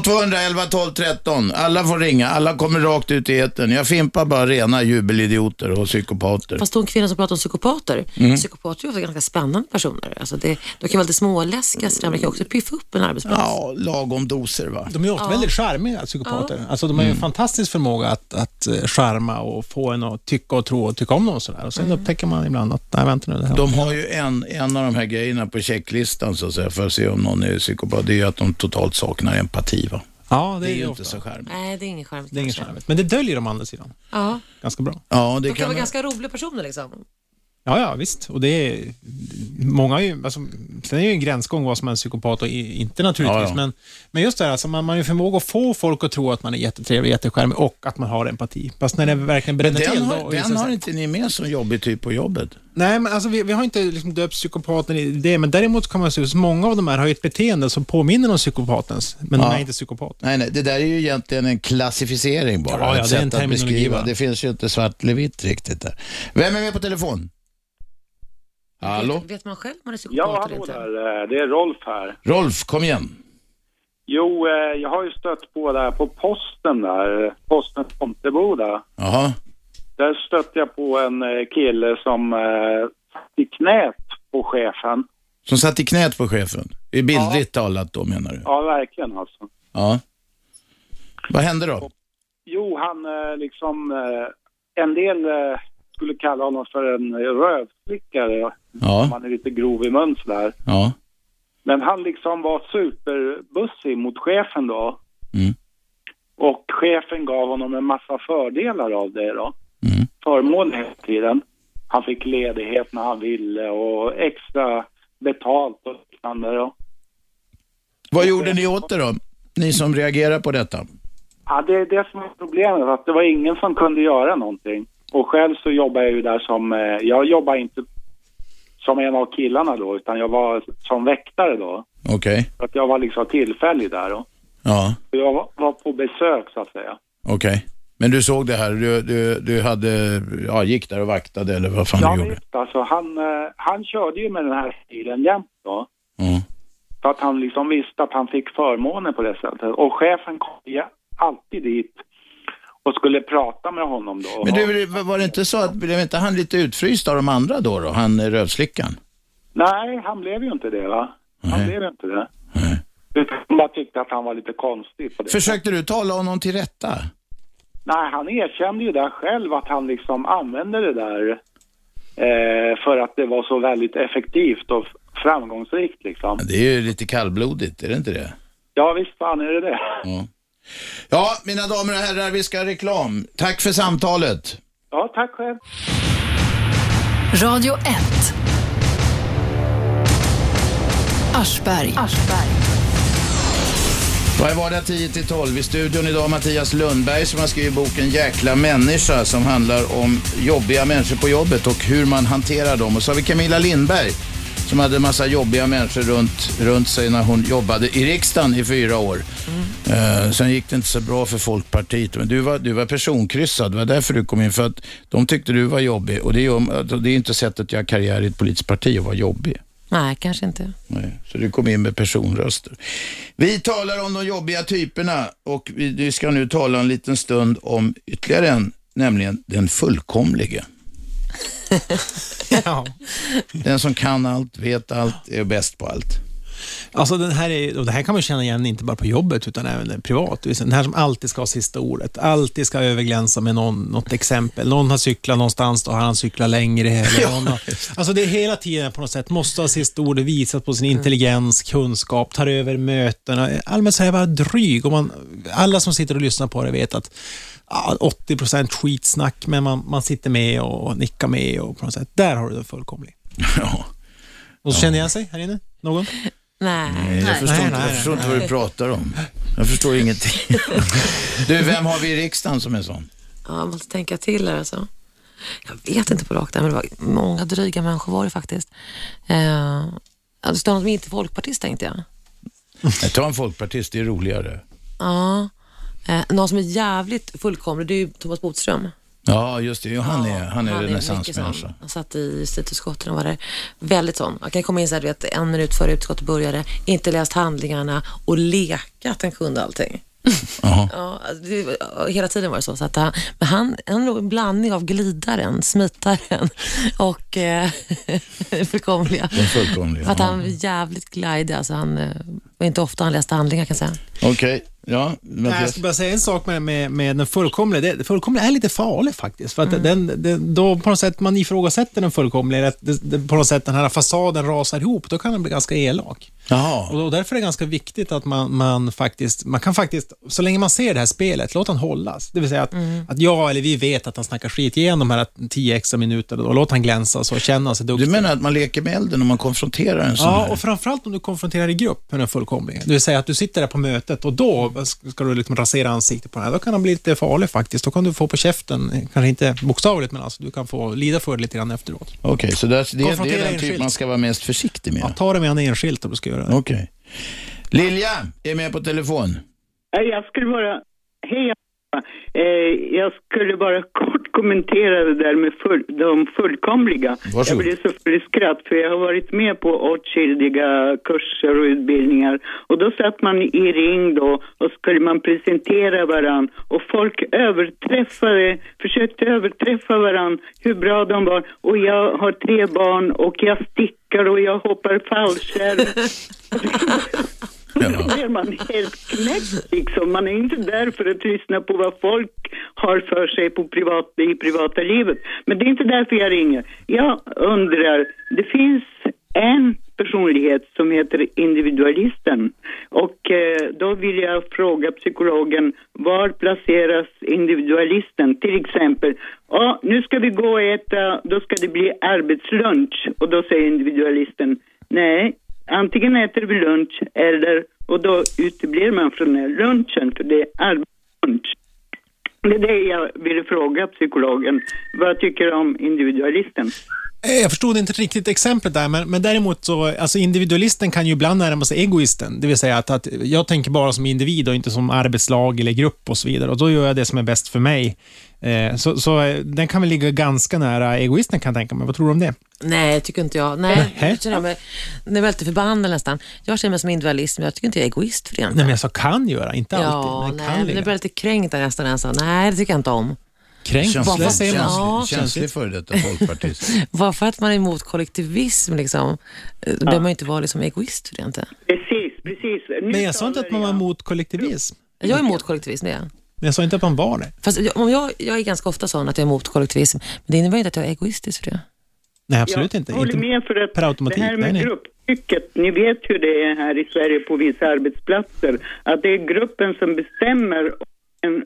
0211 12 13. Alla får ringa. Alla kommer rakt ut i etern. Jag fimpar bara rena jubelidioter och psykopater.
Fast hon kvinna som pratar om psykopater,
Mm.
psykopater är ofta ganska spännande personer. Alltså det, de kan vara lite småläskiga, så där, men det kan också piffa upp en arbetsplats.
Ja, lagom doser va?
Alltså.
Mm.
De är ofta
Ja.
väldigt charmiga, psykopater. Alltså, de har ju en fantastisk förmåga att, att eh, charma och få en att tycka och tro och tycka om någon. Sådär. Och
Mm.
sen upptäcker man ibland att, nej vänta nu, det här
De har ju en, en av de här grejerna på checklistan så att säga, för att se om någon är psykopat. Det är ju att de totalt saknar empati va?
Ja,
det är ju
ofta.
inte så charmigt.
Nej, det är ingen charmigt.
Det är inget charmigt. Men det döljer de å andra sidan
Ja.
ganska bra.
Ja, det
De kan vara ganska roliga personer liksom.
Ja, ja, visst. Och det är, många är ju, alltså, sen är det ju en gränsgång vad som är en psykopat och i- inte naturligtvis,
Ja, ja.
Men, men just det här, alltså, man, man har ju förmåga att få folk att tro att man är jättetrevlig, jättecharmig och att man har empati. Fast när det verkligen
Men
bränner till,
den
då-
har,
och
den
så-
har inte ni med som jobbig typ på jobbet.
Nej, men alltså, vi, vi har inte liksom döpt psykopaten i det, men däremot kan man se att många av de här har ju ett beteende som påminner om psykopatens, men de
Ja.
är inte psykopat.
Nej, nej, det där är ju egentligen en klassificering bara.
Ja, ja,
ett
det är en
sätt att
terminologi,
beskriva.
va?
Det finns ju inte svart eller vitt riktigt där. Vem är med på telefon? Hallå?
Vet, vet man själv om man är psykopat
Ja,
eller
hallå
inte?
där. eh, Det är Rolf här.
Rolf, kom igen.
Jo, eh, jag har ju stött på där på posten där, eh, posten Tomteboda.
Jaha.
Där stötte jag på en eh, kille som eh, satt i knät på chefen.
Som satt i knät på chefen. I bildligt talat då menar du?
Ja, verkligen alltså.
Ja. Vad hände då?
Jo, han eh, liksom, eh, en del eh, skulle kalla honom för en rövslickare.
Ja.
Om han är lite grov i mun sådär.
Ja.
Men han liksom var superbussig mot chefen då.
Mm.
Och chefen gav honom en massa fördelar av det då. Mm. Förmåner hela tiden. Han fick ledighet när han ville och extra betalt och liknande då.
Vad gjorde ni åt det då? Ni som reagerar på detta.
Ja, det är det som är problemet, att det var ingen som kunde göra någonting. Och själv så jobbar jag ju där som, eh, jag jobbar inte som en av killarna då, utan jag var som väktare då.
Okej.
Så att jag var liksom tillfällig där då.
Ja,
Så jag var- var på besök så att säga.
okej. Men du såg det här, du, du, du hade, ja, gick där och vaktade eller vad fan
Ja,
du gjorde?
visst, alltså han, eh, han körde ju med den här stilen jämt då.
Mm.
För att han liksom visste att han fick förmåner på det sättet. Och chefen kom ju alltid dit och skulle prata med honom då.
Men du, var det inte så att, blev inte han lite utfryst av de andra då, då? han eh, rövslickan?
Nej, han blev ju inte det va? Han blev ju inte det. Utan man tyckte att han var lite konstig på det.
Försökte du tala honom till rätta?
Nej, han erkände ju där själv att han liksom använde det där eh, för att det var så väldigt effektivt och f- framgångsrikt liksom.
Det är ju lite kallblodigt, är det inte det?
Ja, visst fan är det det.
Ja. Ja, mina damer och herrar, vi ska ha reklam. Tack för samtalet.
Ja, tack själv.
Radio 1. Aschberg.
Varje vardag 10 till 12 i studion idag Mattias Lundberg som har skrivit boken Jäkla människa som handlar om jobbiga människor på jobbet och hur man hanterar dem. Och så har vi Camilla Lindberg som hade en massa jobbiga människor runt, runt sig när hon jobbade i riksdagen i fyra år. Eh, sen gick det inte så bra för Folkpartiet. Men du var, du var personkryssad, det var därför du kom in. För att de tyckte du var jobbig och det är, det är inte sättet att göra karriär i ett politiskt parti att vara jobbig.
Nej, kanske inte.
Nej, så du kom in med personröster. Vi talar om de jobbiga typerna och vi, vi ska nu tala en liten stund om ytterligare en, nämligen den *laughs* fullkomlige. Den som kan allt, vet allt, är bäst på allt.
Alltså den här är, och det här kan man känna igen inte bara på jobbet utan även privat. Det vill säga, Den här som alltid ska ha sista ordet, alltid ska överglänsa med någon, något exempel. Någon har cyklat någonstans, då har han cyklat längre.
*laughs*
Eller någon har, alltså det är hela tiden på något sätt, måste ha sista ordet, visat på sin intelligens, kunskap, tar över mötena. Allmänt så är jag bara dryg. Och man, alla som sitter och lyssnar på det vet att ja, 80 skitsnack, men man, man sitter med och nickar med och på något sätt, där har du det fullkomligt.
*laughs* Ja.
Och så känner jag sig här inne? Någon?
*laughs* Nej.
Nej, jag förstår, inte, jag förstår inte vad du pratar om. Jag förstår *laughs* ingenting. Du, vem har vi i riksdagen som är sån?
Ja, jag måste tänka till här alltså. Jag vet inte på rakt där, men det var många dryga människor var det faktiskt. Eh, alltså, de som inte är folkpartist tänkte jag.
Nej, ta en folkpartist, det är roligare.
Ja. Eh, någon som är jävligt fullkomlig, det är ju Thomas Bodström.
Ja, just det. Jo, han är, han är
Han är mycket
renässansmänniska.
sån. Han satt i justitieutskottet och var där. Väldigt sån. Han kan komma in så här, du vet, en minut före utskottet började, inte läst handlingarna och leka att han kunde
*laughs*
allting. Ja, alltså, det, hela tiden var det så. så att han, men han, han är nog en blandning av glidaren, smitaren *laughs* och eh, *laughs* fullkomliga.
Den fullkomliga.
För att
ja.
han var jävligt glidig. Alltså han, eh, var inte ofta han läste handlingar kan jag säga.
Okej, ja.
Nej, jag
Mattias.
ska bara säga en sak med, med, med den fullkomliga. Det, det fullkomliga är lite farlig faktiskt. För att
Mm.
den, den, då på något sätt man ifrågasätter den fullkomliga, att det, det, på något sätt den här fasaden rasar ihop, då kan den bli ganska elak.
Jaha.
Och därför är det ganska viktigt att man, man faktiskt, man kan faktiskt, så länge man ser det här spelet, låt han hållas. Det vill säga att,
Mm.
att jag eller vi vet att han snackar skit, ge honom de här 10 extra minuterna och låt han glänsa så och känna sig duktig.
Du menar att man leker med elden om man konfronterar en sån
Ja,
här?
och framförallt om du konfronterar i grupp med den fullkomliga. Det vill säga att du sitter där på mötet och då ska du liksom rasera ansiktet på den här. Då kan han bli lite farlig faktiskt. Då kan du få på käften, kanske inte bokstavligt, men alltså du kan få lida för det lite grann efteråt.
Okej, så det, det, det
Konfrontera
är den typ
enskilt.
man ska vara mest försiktig med?
Ja, ta det med han enskilt om du ska göra det.
Okej. Lilja är med på telefon.
Nej, jag skulle bara... Hej, eh, jag skulle bara kort kommentera det där med full, de fullkomliga.
Varsågod.
Jag blev så full i skratt för jag har varit med på åtskilliga kurser och utbildningar. Och då satt man i ring då och skulle man presentera varann. Och folk överträffade, försökte överträffa varann hur bra de var. Och jag har tre barn och jag stickar och jag hoppar fallskärm. Då blir man helt knäckt liksom. Man är inte där för att lyssna på vad folk har för sig på privat, i privata livet. Men det är inte därför jag ringer. Jag undrar, det finns en personlighet som heter individualisten. Och eh, då vill jag fråga psykologen, var placeras individualisten? Till exempel, ja, nu ska vi gå och äta, då ska det bli arbetslunch. Och då säger individualisten, nej, antingen äter vi lunch eller, och då uteblir man från den här lunchen för det är arbetslunch. Det är det jag ville fråga psykologen. Vad tycker du om individualisten?
Eh, Jag förstod inte riktigt exemplet där, men, men däremot så, alltså individualisten kan ju ibland närma sig egoisten. Det vill säga att, att jag tänker bara som individ och inte som arbetslag eller grupp och så vidare. Och då gör jag det som är bäst för mig. Eh, så så eh, den kan väl ligga ganska nära egoisten kan jag tänka mig. Vad tror du om det?
Nej, tycker inte jag. Nej, nu känner jag mig, nu är jag lite förbannad nästan. Jag känner mig som individualist, men jag tycker inte jag är egoist för det.
Nej, men jag sa kan göra, inte
ja,
alltid. Men
nej,
kan
men nu
ligga.
blir jag lite kränkt där nästan. när Jag sa, nej, det tycker jag inte om.
Kränkt?
Bara för-
Känslig, säger man.
Ja.
Känslig, känslig före detta folkpartist.
*laughs* Bara för att man är emot kollektivism, liksom, då behöver man ju inte vara liksom, egoist för det. Inte.
Precis, precis.
Men jag sa inte att man var emot kollektivism.
Jag är emot kollektivism, det är jag.
Men jag sa inte att man var det.
Fast jag, om jag, jag är ganska ofta sån att jag är emot kollektivism, men det innebär inte att jag är egoistisk för det.
Nej, absolut inte.
Jag håller
inte.
med för att
per automatik.
det här med
Nej, nej.
grupptrycket, ni vet hur det är här i Sverige på vissa arbetsplatser, att det är gruppen som bestämmer och en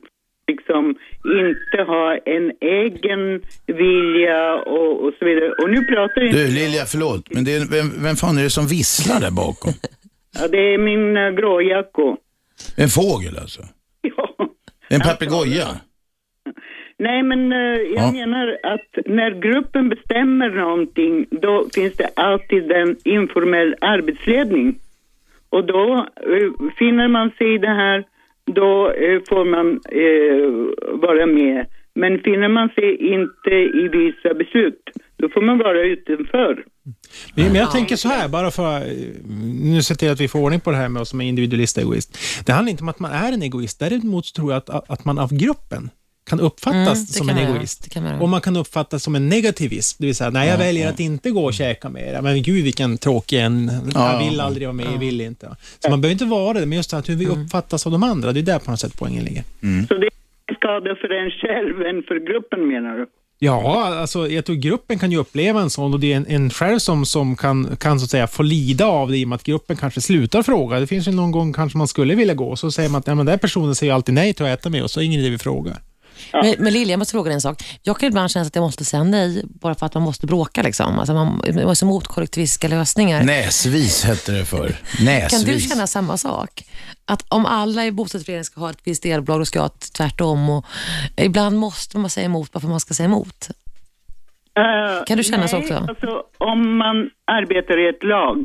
liksom inte ha en egen vilja och, och så vidare. Och nu pratar jag
Du, Lilja, förlåt, men det är, vem, vem fan är det som visslar där bakom?
Ja, det är min äh, gråjacko.
En fågel alltså? En papegoja?
Nej, men eh, jag
Ja.
menar att när gruppen bestämmer någonting, då finns det alltid en informell arbetsledning. Och då eh, finner man sig i det här, då eh, får man eh, vara med. Men finner man sig inte i vissa beslut, då får man vara utanför.
Men men jag tänker så här, bara för att eh, nu se till att vi får ordning på det här med oss som är individualist och egoist. Det handlar inte om att man är en egoist, däremot tror jag att, att man av gruppen kan uppfattas
Mm, det
som
kan
en
man göra.
egoist.
Det kan man göra.
Och man kan uppfattas som en negativism, det vill säga, nej jag
Ja,
väljer
ja.
att inte gå och käka med er. Men gud vilken tråkig en,
Ja,
jag vill aldrig vara med, jag vill inte. Så man behöver inte vara det, men just det att hur
Mm.
vi uppfattas av de andra, det är där på något sätt poängen ligger.
Så det är skada för en själv än för gruppen menar du?
Ja, alltså jag tror gruppen kan ju uppleva en sån och det är en, en själv som, som kan, kan så att säga få lida av det i och med att gruppen kanske slutar fråga. Det finns ju någon gång kanske man skulle vilja gå och så säger man att ja, men den här personen säger ju alltid nej till att äta med oss, så är det ingen idé vi frågar.
Men, men Lilja, jag måste fråga dig en sak. Jag kan ibland känna att jag måste säga nej bara för att man måste bråka. Liksom. Alltså man, man är så emot kollektivistiska lösningar.
Näsvis hette det förr.
Kan du
Näsvis.
känna samma sak? Att om alla i bostadsföreningen ska ha ett visst elbolag, då ska jag ha ett tvärtom. Och ibland måste man säga emot bara för att man ska säga emot.
Eh,
Kan du känna
nej,
så också?
Alltså, om man arbetar i ett lag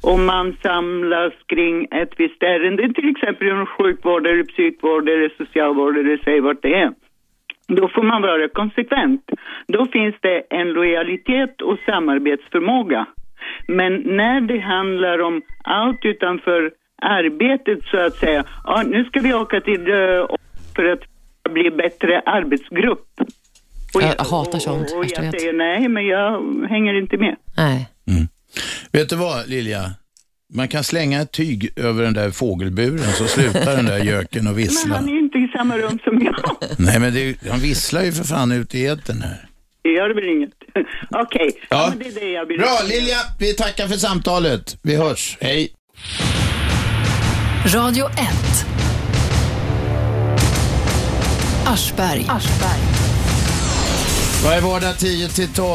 och man samlas kring ett visst ärende, till exempel inom sjukvård eller psykvård eller socialvård eller säg vart det är. Då får man vara konsekvent. Då finns det en lojalitet och samarbetsförmåga. Men när det handlar om allt utanför arbetet så att säga, ja, nu ska vi åka till eh, för att bli bättre arbetsgrupp.
jag, hatar sånt.
Och
värsta jag
jag
vet.
säger nej, men jag hänger inte med.
Nej.
Mm. Vet du vad, Lilja? Man kan slänga ett tyg över den där fågelburen så slutar den där göken att
Men
vissla.
han är inte i samma rum som jag.
Nej, men det, är ju- han visslar ju för fan ute i etern här.
Det gör väl inget. *laughs* Okej,
Ja.
men det är det jag vill
Bra, Lilja, vi tackar för samtalet. Vi hörs. Hej.
Radio 1. Aschberg.
Varje vardag 10 till 12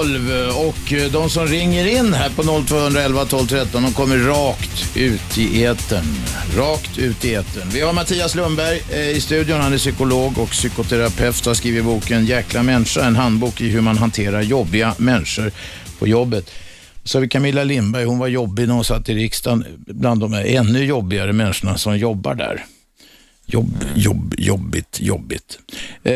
och eh, de som ringer in här på 0211 12 13 de kommer rakt ut i etern. Rakt ut i etern. Vi har Mattias Lundberg eh, i studion. Han är psykolog och psykoterapeut. Har skrivit boken Jäkla människa, en handbok i hur man hanterar jobbiga människor på jobbet. Så har vi Camilla Lindberg. Hon var jobbig när hon satt i riksdagen bland de här ännu jobbigare människorna som jobbar där. Jobb, jobb, jobbigt, jobbigt. Eh,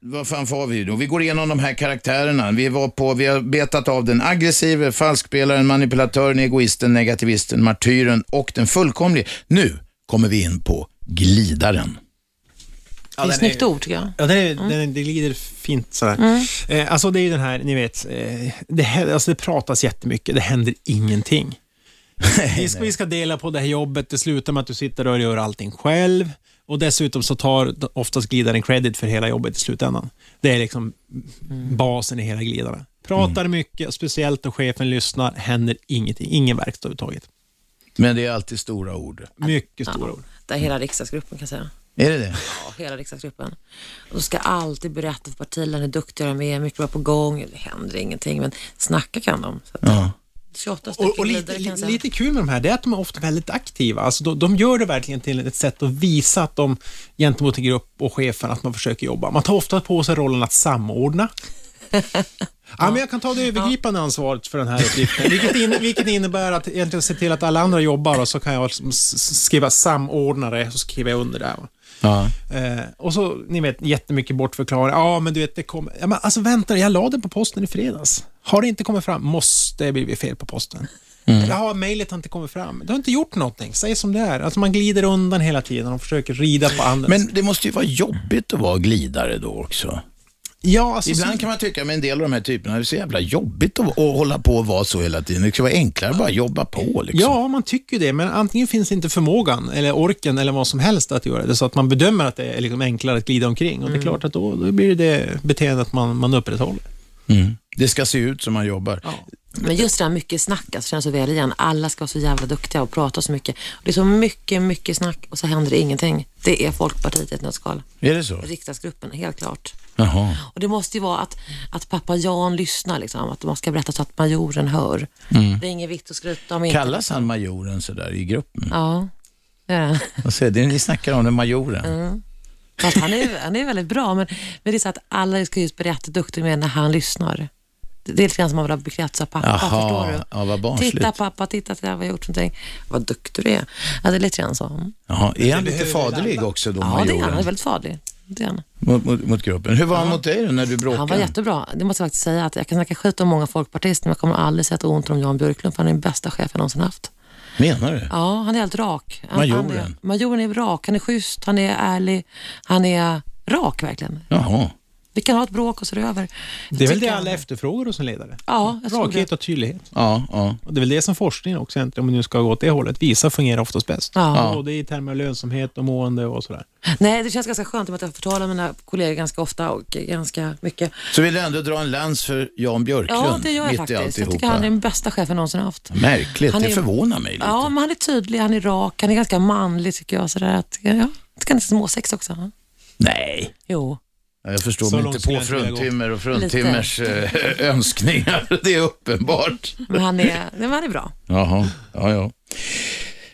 vad fan var vi då? Vi går igenom de här karaktärerna. Vi, var på, vi har betat av den aggressive, falskspelaren, manipulatören, egoisten, negativisten, martyren och den fullkomlige. Nu kommer vi in på glidaren.
det är ett snyggt ord tycker jag.
Ja, den, är, den, den glider fint sådär.
Mm.
Eh, alltså det är ju den här, ni vet, eh, det, hä- alltså det pratas jättemycket, det händer ingenting. vi, ska, vi ska dela på det här jobbet, det slutar med att du sitter och gör allting själv och dessutom så tar oftast glidaren credit för hela jobbet i slutändan. Det är liksom
Mm.
basen i hela glidaren. Pratar mycket, speciellt när chefen lyssnar, händer ingenting, ingen verkstad överhuvudtaget.
Men det är alltid stora ord.
Mycket stora ord.
Det är hela riksdagsgruppen kan jag säga.
Är det det?
Ja, hela riksdagsgruppen. Och då ska jag alltid berätta för partiledarna hur duktiga de är, mycket bra på gång, det händer ingenting, men snacka kan de. Så att,
Ja.
28 stycken
Och, och
ledare
lite,
kan jag
lite,
säga.
lite kul med de här, det är att de är ofta väldigt aktiva. Alltså de, de gör det verkligen till ett sätt att visa att de gentemot en grupp och chefen att man försöker jobba. Man tar ofta på sig rollen
*laughs*
att samordna. Ja, men jag kan ta det övergripande ansvaret för den här uppgiften, vilket, in, vilket innebär att egentligen se till att alla andra jobbar och så kan jag liksom s- s- skriva samordnare, så skriver jag under där. va.
Ja.
Eh, och så, ni vet, jättemycket bortförklaring. Ja, men du vet, det kommer... Ja, men alltså vänta, jag la det på posten i fredags. Har det inte kommit fram? Måste det blivit fel på posten.
Mm.
Jaha, mejlet har inte kommit fram. Du har inte gjort någonting. Säg som det är. Alltså man glider undan hela tiden och försöker rida på andra.
Men det måste ju vara jobbigt att vara glidare då också.
Ja, alltså,
Ibland kan man tycka med en del av de här typerna, det är så jävla jobbigt att, att hålla på och vara så hela tiden. Det ska vara enklare att bara jobba på. Liksom.
Ja, man tycker ju det, men antingen finns inte förmågan eller orken eller vad som helst att göra det, så att man bedömer att det är liksom enklare att glida omkring. Och det är klart att då, då blir det det beteendet man, man upprätthåller.
Mm. Det ska se ut som man jobbar.
Men just det här mycket snack, alltså känns så väl igen. Alla ska vara så jävla duktiga och prata så mycket. Och det är så mycket, mycket snack och så händer det ingenting. Det är Folkpartiet i ett nötskal.
Är det så?
Riksdagsgruppen, helt klart.
Jaha.
Och det måste ju vara att, att pappa Jan lyssnar, liksom, att man ska berätta så att majoren hör.
Mm.
Det är inget vitt att skryta om. inte.
Kallas han majoren sådär i gruppen?
Ja, det är det.
Alltså, det ni snackar om den majoren.
Mm. Fast han är, han är väldigt bra, men, men det är så att alla ska just berätta hur duktig man är när han lyssnar. Det det är lite grann som man vill ha bekräftelse av pappa, förstår du?
Jaha, ja, vad barnsligt.
Titta pappa, titta till det här, vad jag har gjort någonting. Vad duktig du är. Ja, det är lite grann så. Mm.
Jaha, är han lite faderlig också då,
Ja, det är han. Han är
majoren?
väldigt farlig. Det är han.
Mot, mot, mot gruppen. Hur var han mot dig då när du bråkade?
Han var jättebra. Det måste jag faktiskt säga. att Jag kan snacka skit om många folkpartister, men jag kommer aldrig säga ett ont om Jan Björklund, för han är den bästa chef jag någonsin haft.
Menar du?
Ja, han är helt rak. Han, Han är,
Majoren?
majoren är rak. Han är schysst, han är ärlig, han är rak verkligen.
Jaha.
Vi kan ha ett bråk och så är det över.
Det är väl
tycker
det
han-
alla efterfrågar hos en ledare?
Ja, jag tror
Rakhet
det.
och tydlighet.
Ja, ja.
Och det är väl det som forskningen också, egentligen, om vi nu ska gå åt det hållet, visar fungerar oftast bäst.
Ja. Ja.
Både i termer av lönsamhet och mående och sådär.
Nej, det känns ganska skönt i och med att jag förtalar mina kollegor ganska ofta och ganska mycket.
Så vill jag ändå dra en lans för Jan Björklund
Ja, det gör jag
mitt i
faktiskt. Jag
alltihopa.
tycker han är den bästa chefen jag någonsin haft.
Märkligt,
Han
det
är-
förvånar mig lite.
Ja, men han är tydlig, han är rak, han är ganska manlig tycker jag. Sådär att, ja, jag tycker han är småsex också. ja.
Nej.
Jo.
Ja, Jag förstår
Så
mig
långt
inte
skulle
på
jag inte vilja gå.
fruntimmer och fruntimmers eh, *laughs* önskningar. Det är uppenbart.
Men han är, *laughs* nej, men han är bra.
Jaha, ja, ja.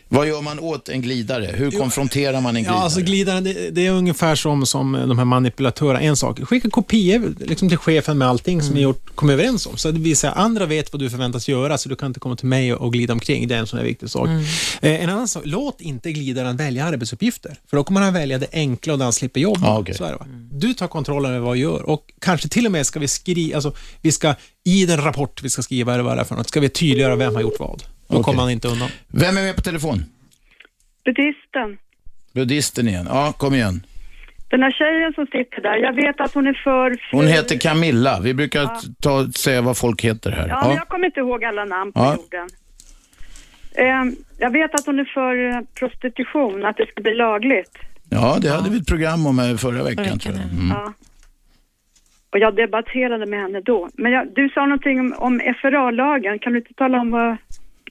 Vad gör man åt en glidare? Hur konfronterar man en
Ja,
glidare?
alltså glidaren, det, det är ungefär som, som de här manipulatörerna. En sak, skicka kopior liksom till chefen med allting
Mm.
som ni gjort, kom överens om. Så det vill säga, andra vet vad du förväntas göra, så du kan inte komma till mig och, och glida omkring. Det är en sån här viktig sak.
Mm.
Eh, en annan sak, låt inte glidaren välja arbetsuppgifter, för då kommer han välja det enkla och där han slipper jobba.
Ja, okej. Mm.
Så är det, va? Du tar kontrollen över vad du gör och kanske till och med ska vi skriva, alltså, vi ska i den rapport vi ska skriva eller vad det är för något, ska vi tydliggöra vem har gjort vad. Då
Okej.
kommer han inte undan.
Vem är med på telefon?
Buddhisten.
Buddhisten igen. Ja, kom igen.
Den här tjejen som sitter där, jag vet att hon är för...
Hon heter Camilla. Vi brukar t- ta, säga vad folk heter här.
Ja, men jag kommer inte ihåg alla namn på
Ja.
jorden. Ehm, Jag vet att hon är för eh, prostitution, att det ska bli lagligt.
Ja, det hade vi ett program om här förra veckan, tror jag. Mm.
Ja. Och jag debatterade med henne då. Men jag, du sa någonting om, om FRA-lagen, kan du inte tala om vad...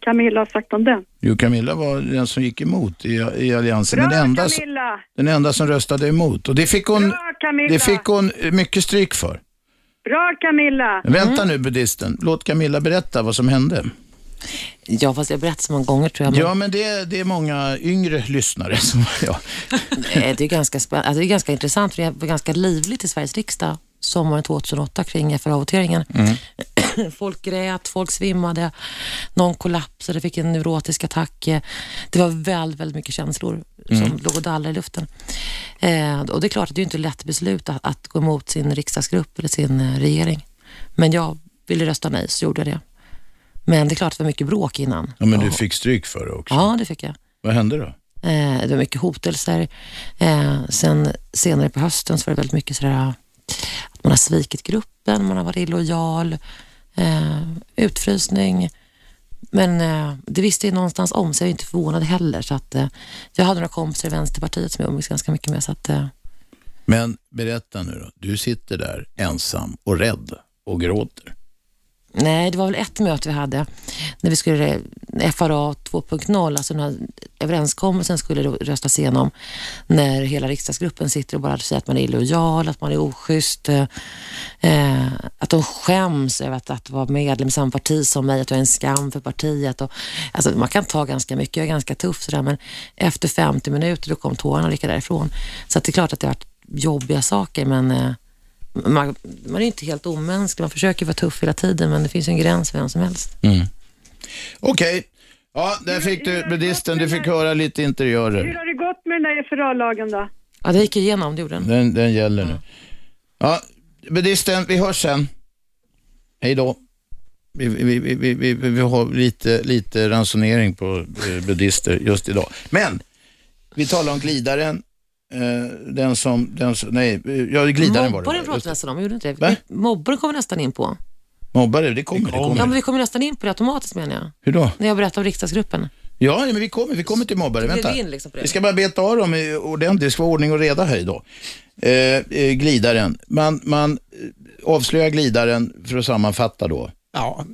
Camilla har sagt om den.
Jo, Camilla var den som gick emot i, i Alliansen.
Bra
den, enda,
Camilla!
den enda som röstade emot. Och det fick hon,
Bra Camilla!
det fick hon eh, mycket stryk för.
Bra Camilla!
Men Vänta nu buddhisten, låt Camilla berätta vad som hände.
Ja, fast jag har berättat så många gånger tror jag.
Ja, men det, det är många yngre lyssnare som... Ja.
Nej, det är ganska spännande. Alltså, det är ganska intressant för det var ganska livligt i Sveriges riksdag sommaren 2008 kring FRA-voteringen. *clears throat* Folk grät, folk svimmade, någon kollapsade, fick en neurotisk attack. Det var väldigt, väldigt mycket känslor som
Mm.
låg och dallrade i luften. Eh, och det är klart att det är inte ett lätt beslut att, att gå emot sin riksdagsgrupp eller sin eh, regering. Men jag ville rösta nej, så gjorde jag det. Men det är klart att det var mycket bråk innan.
ja, men du fick stryk för det också.
Ja, det fick jag.
Vad hände då?
Eh, det var mycket hotelser. Eh, sen senare på hösten så var det väldigt mycket sådär eh, att man har svikit gruppen, man har varit illojal, eh, utfrysning. Men eh, det visste jag någonstans om, så jag är inte förvånad heller. Så att, eh, jag hade några kompisar i Vänsterpartiet som jag umgicks ganska mycket med. Så att, eh,
Men berätta nu då, du sitter där ensam och rädd och gråter.
Nej, det var väl ett möte vi hade när vi skulle FRA 2.0, alltså den här överenskommelsen skulle då röstas igenom när hela riksdagsgruppen sitter och bara säger att man är illojal, att man är oschysst, eh, eh, att de skäms över att, att vara medlem i samma parti som mig, att jag är en skam för partiet. Och, alltså, man kan ta ganska mycket, jag är ganska tuff sådär, men efter 50 minuter då kom tårarna och gick jag därifrån. Så att det är klart att det har varit jobbiga saker, men eh, man, man är ju inte helt omänsklig, man försöker vara tuff hela tiden men det finns ju en gräns för vem som helst.
Okej, ja, där fick du buddhisten, du fick höra lite
Hur
interiörer.
har det gått med den där FRA-lagen då?
Ja, det gick igenom, det gjorde den.
Den, den gäller nu. Ja, buddhisten, vi hörs sen. Hej då. Vi, vi, vi, vi, vi, vi har lite, lite ransonering på eh, buddhister just idag. Men, vi talar om glidaren. eh, Den som, den som, nej, eh, ja, glidaren var det.
Mobbaren
bara, just
pratade nästan om, gjorde inte det?
Va?
Mobbaren kom vi nästan in på.
det. Mobbare, det kommer, det
Ja, men
kommer.
vi kommer nästan in på det automatiskt menar jag.
Hur då?
När jag berättade om riksdagsgruppen.
Ja, nej, men vi kommer, vi kommer till mobbare.
Då blev
Vänta.
vi in liksom på det.
Vi ska bara beta av dem eh, ordentligt. Det ska vara ordning och reda här idag. Eh, eh, glidaren. Man, man eh, avslöjar glidaren för att sammanfatta då.
Ja.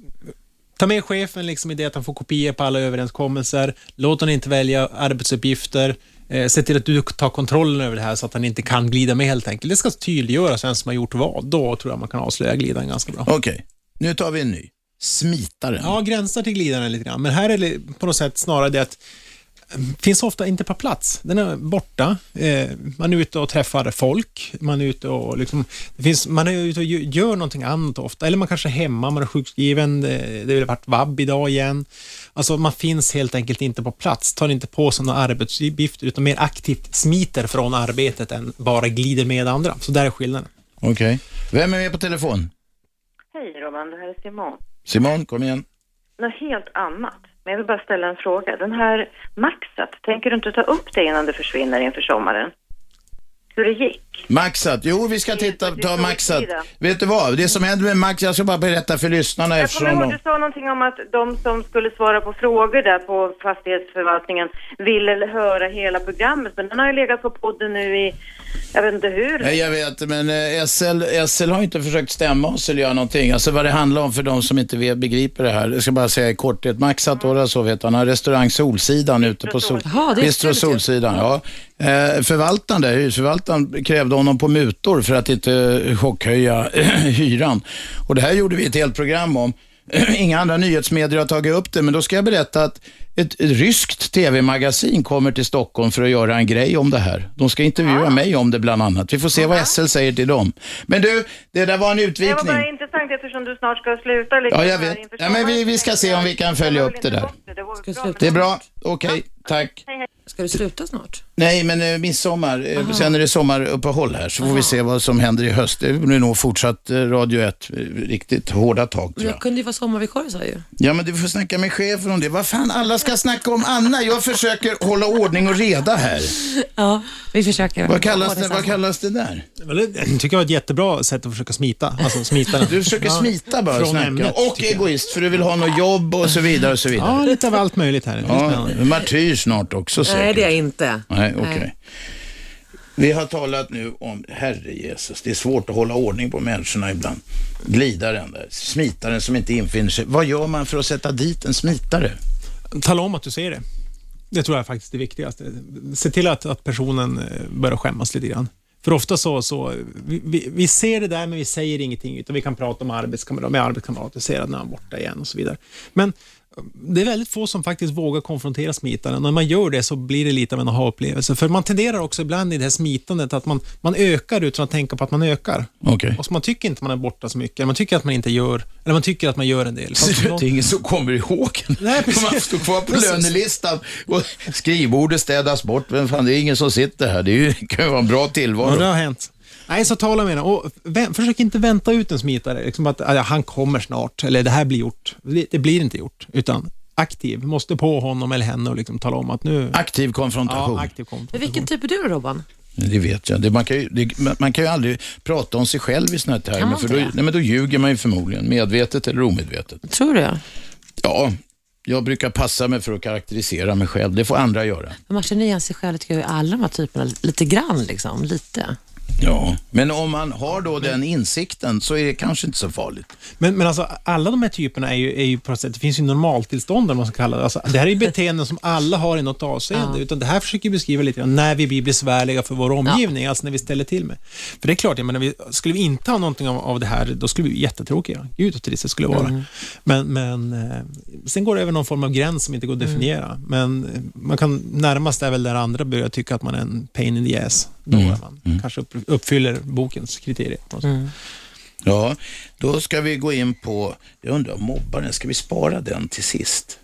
Ta med chefen liksom i det att han får kopior på alla överenskommelser. Låt honom inte välja arbetsuppgifter. Eh, se till att du tar kontrollen över det här så att han inte kan glida med helt enkelt. Det ska tydliggöras vem som har gjort vad. Då tror jag man kan avslöja glidaren ganska bra.
Okej, nu tar vi en ny. Smitaren.
Ja, gränsar till glidaren lite grann. Men här är det på något sätt snarare det att mm, finns ofta inte på plats. Den är borta. Eh, man är ute och träffar folk. Man är ute och, liksom, det finns, man är ute och gö- gör någonting annat ofta. Eller man kanske är hemma, man är sjukskriven. eh, Det har varit vabb idag igen. Alltså man finns helt enkelt inte på plats. Tar inte på sig någon arbetsuppgift utan mer aktivt smiter från arbetet än bara glider med andra. Så där är skillnaden.
Okej. Vem är med på telefon?
Hej Robban, det här är Simon.
Simon, kom igen.
Något helt annat. Men jag vill bara ställa en fråga. Den här Maxat, tänker du inte ta upp det innan det försvinner inför sommaren? Hur det gick?
Maxat. Jo, vi ska titta, ta Maxat. Vet du vad? Det som händer med Max, jag ska bara berätta för lyssnarna
Jag kommer
eftersom
ihåg
de...
du sa någonting om att de som skulle svara på frågor där på fastighetsförvaltningen ville höra hela programmet. Men den har ju legat på podden nu i, jag vet inte hur.
Nej, jag vet, men eh, SL, SL har inte försökt stämma oss eller göra någonting. Alltså vad det handlar om för de som inte vet- begriper det här. Jag ska bara säga i korthet, Max Satora, så vet han, har restaurang Solsidan ute på sol...
Jaha, det är
Bistro Solsidan. Ja. Eh, Förvaltaren där, hyresförvaltaren, krävde honom på mutor för att inte chockhöja *clears throat* hyran. Och det här gjorde vi ett helt program om. *clears throat* Inga andra nyhetsmedier har tagit upp det, men då ska jag berätta att ett, ett ryskt tv-magasin kommer till Stockholm för att göra en grej om det här. De ska intervjua mig om det bland annat. Vi får se vad SL säger till dem. Men du, Ah. det där var en
Det var
utvikning.
bara intressant eftersom du snart ska sluta. liksom,
Ja, jag
här
vet.
inför
Ja, men vi,
sommaren.
vi ska se om vi kan följa upp det där. Det är bra. Okej, tack.
Ska du sluta snart?
Nej, men eh, midsommar. Eh, Sen är det sommaruppehåll här, så får vi se vad som händer i höst. Det blir nog fortsatt eh, Radio 1, eh, riktigt hårda tag.
Men jag kunde ju vara sommarvikarie sa jag ju.
Ja, men du får snacka med chefen om det. Vad fan, alla ska snacka om Anna. Jag försöker hålla ordning och reda här.
Ja, vi försöker.
Vad kallas det, vad kallas det där?
Men Det det tycker jag var ett jättebra sätt att försöka smita. Alltså, smita den.
Du försöker
Ja,
smita bara och
från
snacka.
ämnet,
Och egoist, för du vill ha något jobb och så vidare. Och så vidare.
Ja, lite av allt möjligt här.
Ja, martyr snart också säkert.
Nej, det är jag inte.
Nej, okej. Vi har talat nu om, herre Jesus, det är svårt att hålla ordning på människorna ibland. Glidaren där, smitaren som inte infinner sig. Vad gör man för att sätta dit en smitare?
Tala om att du ser det. Det tror jag faktiskt är det viktigaste. Se till att, att personen eh, börjar skämmas lite grann. För ofta så, så vi, vi, vi ser det där men vi säger ingenting utan vi kan prata om arbetskamrater, med arbetskamrater, ser att när han är borta igen och så vidare. Men eh, det är väldigt få som faktiskt vågar konfrontera smitaren. När man gör det så blir det lite av en aha-upplevelse. För man tenderar också ibland i det här smitandet att man, man ökar utan att tänka på att man ökar.
Okej.
Och så man tycker inte man är borta så mycket, eller man tycker att man inte gör, eller man tycker att man gör en del. Fast
Det är ingen som kommer ihåg
Nej, precis.
Man står kvar på
Precis.
lönelistan och skrivbordet städas bort. Vem fan, det är ingen som sitter här. Det är ju, *laughs* kan ju vara en bra
Ja, det
tillvaro.
har hänt. Nej, så tala med henne. Och vä- försök inte vänta ut en smitare. Liksom att ja, han kommer snart, eller det här blir gjort. Det, det blir inte gjort, utan aktiv. Måste på honom eller henne och liksom tala om att nu...
Aktiv konfrontation.
Ja, aktiv konfrontation.
Men vilken typ är du Robban?
Det vet jag. Det, man, kan ju, det, man- man kan ju aldrig prata om sig själv i såna här
Kan
termer,
man
för då,
inte
nej,
det?
men då ljuger man ju förmodligen, medvetet eller omedvetet.
Tror du?
Ja, jag brukar passa mig för att karaktärisera mig själv. Det får andra göra.
Men Man känner igen sig själv tycker jag, i alla de här typerna, lite grann liksom. Lite.
Ja. Men om man har då den insikten så är det kanske inte så farligt.
Men, men alltså, alla de här typerna är ju, är ju på något sätt, det finns ju normaltillstånd, eller vad man ska kalla det. Alltså, det här är ju beteenden som alla har i något avseende,
Ja.
utan det här försöker jag beskriva lite grann när vi blir besvärliga för vår omgivning, alltså när vi ställer till med. För det är klart, jag menar, vi, skulle vi inte ha någonting av, av det här, då skulle vi bli jättetråkiga. Gud vad trist det skulle vara.
Mm.
Men, men eh, sen går det över någon form av gräns som inte går att
Mm.
definiera. Men eh, man kan närmast är väl där andra börjar tycka att man är en pain in the ass. Då
Mm.
är man kanske upp, uppfyller bokens kriterier. på något sätt.
Ja, då ska vi gå in på, jag undrar, mobbaren, ska vi spara den till sist?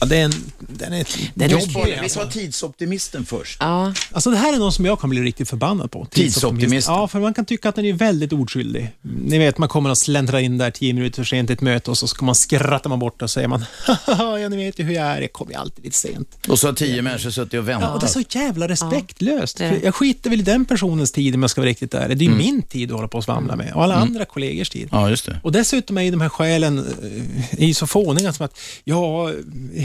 Ja, det är en, den är ett
Den
jobb.
är vi tar tidsoptimisten först.
Ja.
Alltså det här är någon som jag kan bli riktigt förbannad på.
Tidsoptimisten.
Ja, för man kan tycka att den är väldigt
*laughs*
ordskyldig. Ni vet, man kommer och släntrar in där tio minuter för sent i ett möte och så ska man skratta man bort och säger man Haha, ja, ni vet ju hur jag är, jag kommer ju alltid lite sent.
Och så har tio människor suttit och
Ja, och det är
väntat.
så jävla respektlöst.
det är det.
För Jag skiter väl i den personens tid om jag ska vara riktigt ärlig. Det är ju min tid att hålla på och svamla med och alla andra kollegors tid.
Ja, just det.
Och dessutom är ju de här skälen eh, är ju så fåniga som att, ja,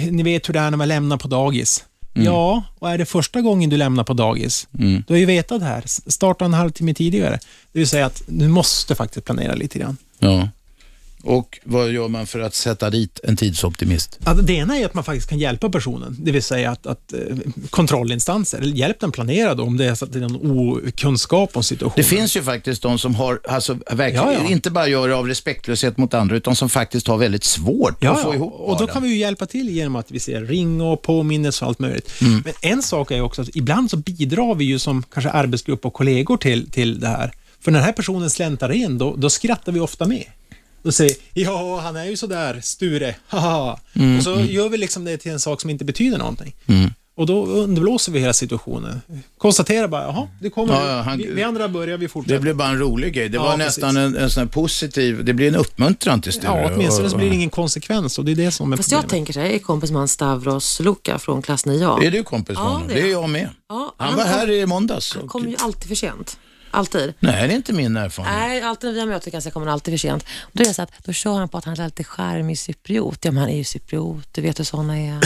ni vet hur det är när man lämnar på dagis. Ja, och är det första gången du lämnar på dagis,
Mm,
du har ju vetat det här, S- starta en halvtimme tidigare. Det vill säga att du måste faktiskt planera lite grann.
Ja. Och vad gör man för att sätta dit en tidsoptimist?
Att det ena är att man faktiskt kan hjälpa personen, det vill säga att, att eh, kontrollinstanser, eller hjälp den planera då, om det är så att det är någon okunskap om situationen.
Det finns ju faktiskt de som har, alltså verkligen,
Ja, ja.
inte bara gör det av respektlöshet mot andra, utan som faktiskt har väldigt svårt
Ja,
att få
ja.
ihop
och då
vardagen.
kan vi ju hjälpa till genom att vi ser ring och påminnelser och allt möjligt.
Mm.
Men en sak är ju också att ibland så bidrar vi ju som kanske arbetsgrupp och kollegor till, till det här. För när den här personen släntar in, då, då skrattar vi ofta med. Då säger vi, ja, han är ju sådär, Sture, *laughs* haha.
Mm,
Och så gör vi liksom det till en sak som inte betyder någonting.
Mm.
Och då underblåser vi hela situationen. Konstaterar bara, jaha, det kommer,
Ja, ja, han-
vi, vi andra börjar, vi fortsätter.
Det blev bara en rolig grej. Det
Ja,
var
precis.
nästan en, en sån här positiv, det blir en uppmuntran till Sture.
Ja, åtminstone så
Och-
blir det ingen konsekvens och det är det som är
Fast jag
problemet.
tänker så här, jag är kompis med han Stavros Luka från klass 9A.
Är du kompis med
Ja,
honom?
det
Det
är
är,
jag.
jag med.
Ja,
Han var
kom-
här i måndags.
Han kommer ju alltid för sent. Alltid.
Nej, det är inte min erfarenhet.
Nej, alltid när vi har möten kanske kommer han alltid för sent. Då är det så att, då kör han på att han är lite charmig cypriot. Ja, men han är ju cypriot, du vet hur sådana är.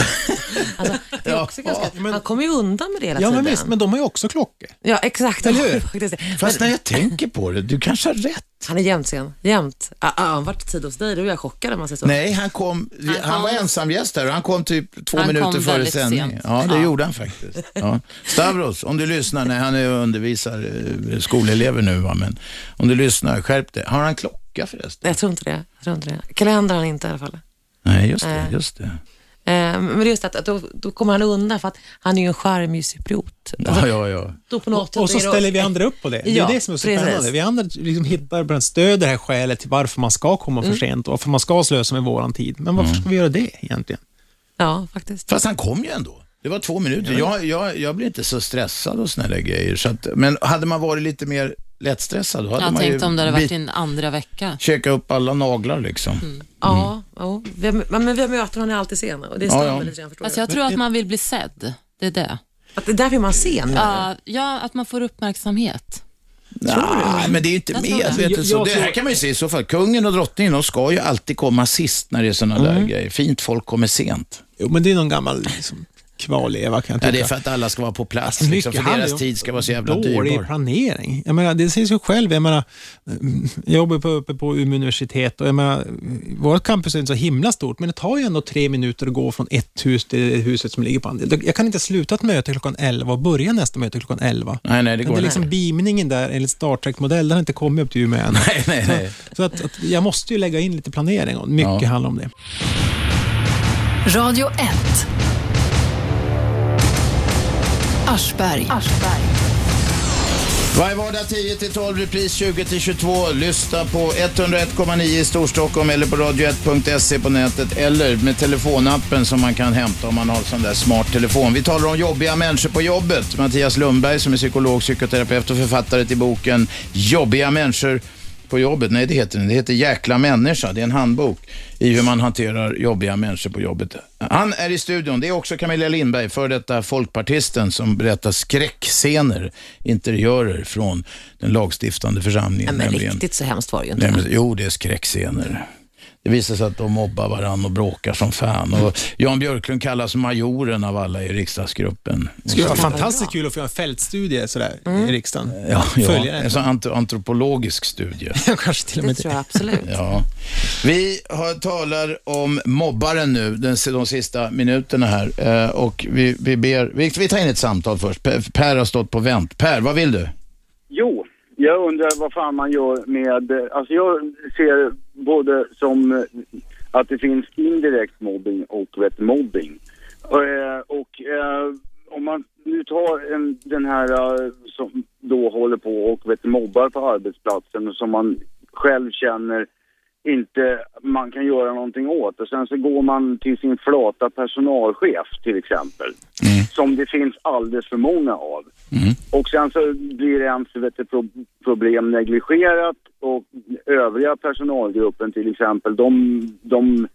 Alltså, det är också ganska, han kommer ju undan med det hela
Ja,
tiden.
men visst, men de har ju också klockor.
Ja, exakt.
Eller
*laughs*
hur?
Faktiskt.
Fast
Men
när jag tänker på det, du kanske har rätt.
han är jämt sen. Jämt. Ah, ah, han vart tid hos dig, då är jag chockad om man säger så.
Nej, han kom, han,
kom-
var ensam gäst här och han kom typ två
Han kom
minuter före
väldigt
sändning.
sent.
Ja, det
Ja.
gjorde han faktiskt. Ja. Stavros, om du lyssnar, nej han är och undervisar eh, skolelever nu va, men om du lyssnar, skärp dig. Har han klocka förresten?
Jag tror inte det. Jag tror inte det. Kalender har han inte i alla fall.
Nej, just det,
Nej.
just det.
Eh, men det är just att, att då, då kommer han undan för att han är ju en charmig cypriot. Alltså,
Ja, ja, ja.
då på något
Och, och
sätt
så
är det-
ställer vi andra upp på det. Det är
Ja,
det som är så
precis.
spännande. Vi andra liksom hittar bland stöd det här skälet till varför man ska komma
Mm.
för sent och varför man ska slösa med våran tid. Men
Mm.
varför ska vi göra det egentligen?
Ja, faktiskt.
Fast han kom ju ändå. Det var två minuter. Jag, jag, jag blir inte så stressad och såna där grejer. Så att, men hade man varit lite mer lättstressad, då hade
Jag
man ju
tänkte om det hade varit
bit-
din andra vecka.
käkat upp alla naglar liksom.
Ja, jo. Vi, men men vi har möten han är alltid sen och det
Ja,
stör
ja.
mig lite grann förstår
Fast Alltså,
du.
jag tror att man vill bli sedd. Det är det.
Att det är därför man är sen.
Ja, ja att man får uppmärksamhet.
Nej, men det är ju inte
Jag tror det.
medvetet så.
Jag- jag
Det här
tror-
kan man ju se i så fall. Kungen och drottningen, de ska
Mm.
ju alltid komma sist när det är sådana där grejer. Fint folk kommer sent.
Jo, men det är någon gammal liksom, kvarleva kan jag
Ja,
tycka. Alltså,
det är för att alla ska vara på plats,
Mycket
liksom, för
handlar
deras
ju om
tid ska vara så jävla
Dålig
dyrbar.
planering. Jag menar, det säger sig själv. Jag, menar, mm, jag jobbar på, uppe på Umeå universitet och jag menar, mm, vårt campus är inte så himla stort, men det tar ju ändå tre minuter att gå från ett hus till det huset som ligger på andra. Jag kan inte sluta ett möte klockan 11 och börja nästa möte klockan 11.
Nej, nej, det
Men
går
det är
inte.
liksom beamningen där enligt Star Trek-modell, den har inte kommit upp till Umeå än. Nej,
*laughs* nej, nej.
Så, så att, att jag måste ju lägga in lite planering och mycket
Ja.
handlar om det.
Radio 1. Aschberg.
Varje vardag 10-12, repris 20-22. Lyssna på 101,9 i Storstockholm eller på radio1.se på nätet eller med telefonappen som man kan hämta om man har sån där smart telefon. Vi talar om jobbiga människor på jobbet. Mattias Lundberg som är psykolog, psykoterapeut och författare till boken Jobbiga människor på jobbet. Nej, det heter den. Det heter Jäkla människa. Det är en handbok i hur man hanterar jobbiga människor på jobbet. Han är i studion. Det är också Camilla Lindberg, för detta folkpartisten som berättar skräckscener, interiörer från den lagstiftande församlingen.
men
nämligen.
riktigt så hemskt var det ju inte.
Nej, men, jo, det är skräckscener. Det visar sig att de mobbar varandra och bråkar som fan. Och Jan Björklund kallas majoren av alla i riksdagsgruppen.
Det skulle vara fantastiskt kul att få göra en fältstudie sådär, i riksdagen.
Mm. Ja, ja.
Följa
en
det.
sån ant- antropologisk studie.
*laughs*
Kanske till och
Det
med
tror jag *laughs* absolut.
Ja. Vi har, talar om mobbaren nu, den, de sista minuterna här. Eh, och vi, vi, ber, vi, vi tar in ett samtal först. Per, per har stått på vänt. Per, vad vill du?
Jo, jag undrar vad fan man gör med... Alltså jag ser både som eh, att det finns indirekt mobbing och vet, mobbing. Eh, och eh, om man nu tar en, den här eh, som då håller på och vet, mobbar på arbetsplatsen och som man själv känner inte man kan göra någonting åt. Och sen så går man till sin flata personalchef till exempel. Som det finns alldeles för många av. Mm. Och sen så blir ens vet du, pro- problem negligerat och övriga personalgruppen till exempel, de, de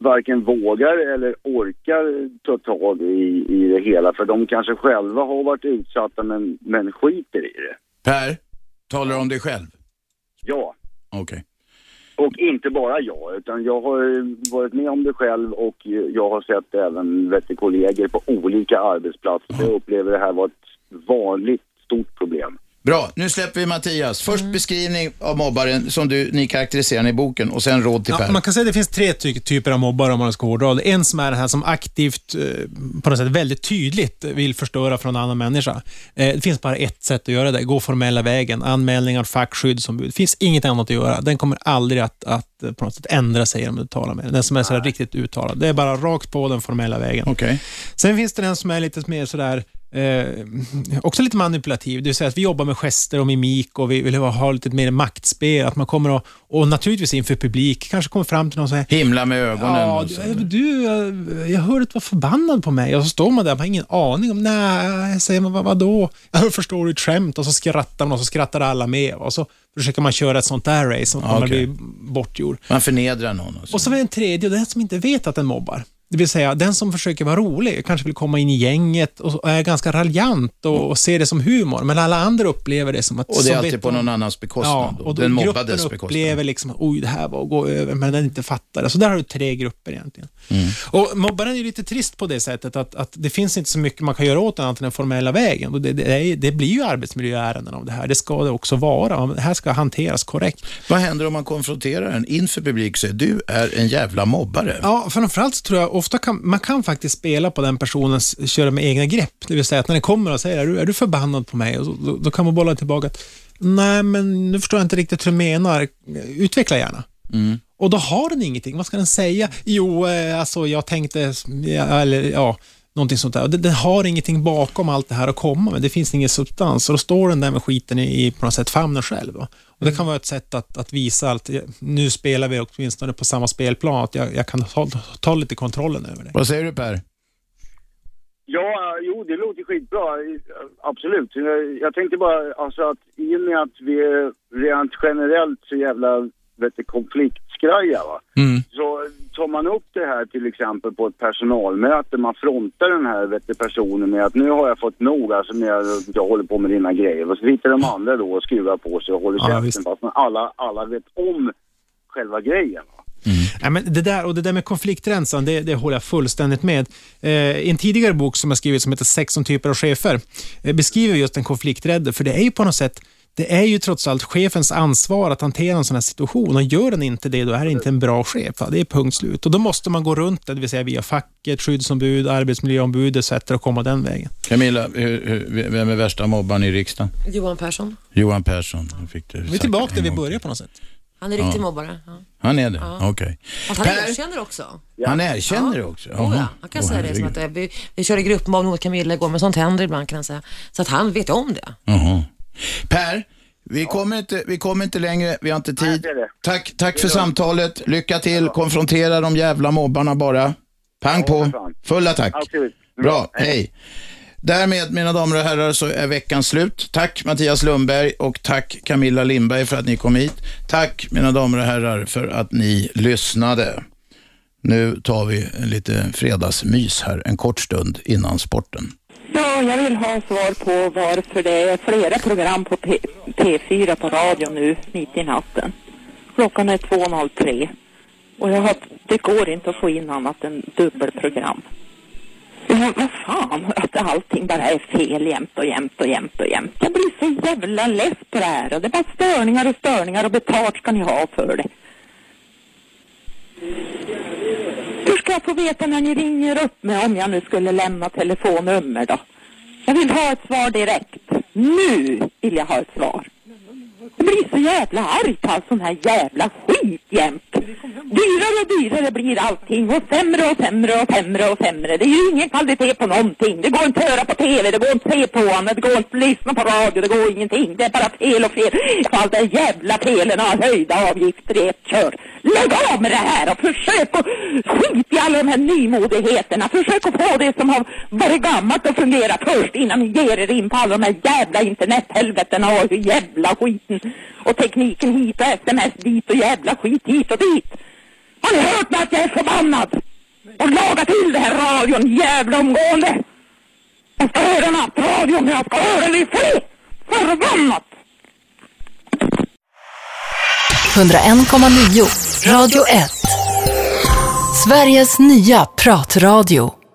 varken vågar eller orkar ta tag i, i det hela för de kanske själva har varit utsatta men, men skiter i det.
Per, talar du om dig själv?
Ja.
Okej.
Och inte bara jag, utan jag har varit med om det själv och jag har sett även vet du, kollegor på olika arbetsplatser. Jag upplever det här vara ett vanligt stort problem.
Bra, nu släpper vi Mattias. Först
Mm.
beskrivning av mobbaren som du, ni karaktäriserar den i boken och sen råd till
Ja,
Per.
man kan säga att det finns tre ty- typer av mobbare om man ska hårdra det. En som är den här som aktivt, eh, på något sätt väldigt tydligt vill förstöra för en annan människa. Eh, Det finns bara ett sätt att göra det, gå formella vägen. Anmälningar, fack, skyddsombud. Det finns inget annat att göra. Den kommer aldrig att, att eh, på något sätt ändra sig om du talar med den. Den som är sådär riktigt uttalad. Det är bara rakt på den formella vägen.
Okej.
Sen finns det den som är lite mer sådär Eh, också lite manipulativ, det vill säga att vi jobbar med gester och mimik och vi vill ha, ha lite mer maktspel. Att man kommer och, och naturligtvis inför publik, kanske kommer fram till någon så här
Himla med ögonen.
Ja,
och så.
du, du, eh, jag hörde att du var förbannad på mig och så står man där, man har ingen aning om, nej, säger man, vad, vadå? *laughs* Jag förstår du ett skämt och så skrattar man och så skrattar alla med och så försöker man köra ett sånt där race och
Ja,
man
okej.
blir bortgjord.
Man förnedrar någon. Och så.
Och så är det en tredje, och den som inte vet att den mobbar. Det vill säga, den som försöker vara rolig, kanske vill komma in i gänget och och är ganska raljant och, och ser det som humor, men alla andra upplever det som att...
Och det
som
är alltid
vet
på
om-
någon annans bekostnad.
Ja,
då.
och då
den
gruppen
mobbades bekostnad.
upplever liksom att oj, det här var att gå över, men den inte fattar. Så där har du tre grupper egentligen.
Mm.
Och mobbaren är lite trist på det sättet att, att det finns inte så mycket man kan göra åt den annat än den formella vägen. Och det, det, är, det blir ju arbetsmiljöärenden av det här. Det ska det också vara. Det här ska hanteras korrekt.
Vad händer om man konfronterar en inför publik och säger du är en jävla mobbare?
Ja, framförallt så tror jag ofta kan, man kan faktiskt spela på den personens, köra med egna grepp. Det vill säga att när den kommer och säger, är du, är du förbannad på mig? Och så, då, då kan man bolla tillbaka att, nej men nu förstår jag inte riktigt hur du menar, utveckla gärna.
Mm.
Och då har den ingenting, vad ska den säga? Jo, eh, alltså jag tänkte, ja, eller ja, någonting sånt där. Den, den har ingenting bakom allt det här att komma med, det finns ingen substans. Och då står den där med skiten i, i på något sätt famnen själv. va. Och det
Mm.
kan vara ett sätt att, att visa att eh, nu spelar vi åtminstone på samma spelplan, att jag, jag kan ta, ta lite kontrollen över det.
Vad säger du Per?
Ja, jo, det låter skitbra. Absolut. Jag tänkte bara alltså att i och med att vi är rent generellt så jävla vet du, konfliktskraja va. Så tar man upp det här till exempel på ett personalmöte, man frontar den här vet du, personen med att nu har jag fått nog, alltså när jag, jag håller på med dina grejer. Och så sitter de andra då och skruvar på sig och håller
Ja,
käften
visst.
fast alla, alla vet om själva grejen. va.
Nej, men det, där, och det där med konfliktrensan, det, det håller jag fullständigt med. Eh, I en tidigare bok som jag skrivit som heter 16 typer av chefer eh, beskriver jag just en konflikträdde, för det är ju på något sätt det är ju trots allt chefens ansvar att hantera en sån här situation och gör den inte det, då är det inte en bra chef. va? Det är punkt slut. Och då måste man gå runt det, det vill säga via facket, skyddsombud, arbetsmiljöombud etc. och komma den vägen.
Camilla, hur, hur, vem är värsta mobbaren i riksdagen?
Johan Persson.
Johan Persson. nu Fick du
Vi är
sagt
tillbaka
en
där vi
gång.
börjar på något sätt.
Han är riktig
Ja.
mobbare. Ja.
Han är det?
Ja.
Okej.
Att han erkänner också.
Han erkänner också? Jaha.
Ja, han kan
Åh,
säga det som
herregud.
att det- vi, vi körde gruppmobbning mot Camilla igår, men sånt händer ibland kan han säga. Så att han vet om det.
Jaha. Per, vi, kommer inte, vi kommer inte längre, vi har inte tid. Tack, tack för samtalet, lycka till, konfrontera de jävla mobbarna bara. Pang på, full attack.
Absolut.
Bra, hej. Därmed, mina damer och herrar, så är veckan slut. Tack Mattias Lundberg och tack Camilla Lindberg för att ni kom hit. Tack, mina damer och herrar, för att ni lyssnade. Nu tar vi lite fredagsmys här, en kort stund innan sporten.
Ja, jag vill ha svar på varför det är flera program på P- P4 på radio nu, mitt i natten. Klockan är 2.03 och jag har, det går inte att få in annat än dubbelprogram. Men vad fan, att allting bara är fel jämt och jämt och jämt och jämt. Jag blir så jävla less på det här och det är bara störningar och störningar och betalt ska ni ha för det. Hur ska jag få veta när ni ringer upp mig om jag nu skulle lämna telefonnummer då? Jag vill ha ett svar direkt. Nu vill jag ha ett svar. Jag blir så jävla arg på all sån här jävla skit jämt. Dyrare och dyrare blir allting och sämre och sämre och sämre och sämre. Det är ju ingen kvalitet på någonting. Det går inte att höra på TV, det går inte att se på annat, det går inte att lyssna på radio, det går ingenting. Det är bara fel och fel. Allt det jävla felen har höjda avgifter i ett kör. Lägg av med det här och försök att skit i alla de här nymodigheterna. Försök att få det som har varit gammalt att fungera först innan ni ger er in på alla de här jävla internethelvetena och jävla skiten. Och tekniken hit och sms dit och jävla skit hit och dit. Har ni hört mig att jag är förbannad? Och laga till det här radion jävla omgående! Jag ska höra nattradion, men jag ska höra det i fred! Förbannat!
101,9. Radio 1. Sveriges nya pratradio.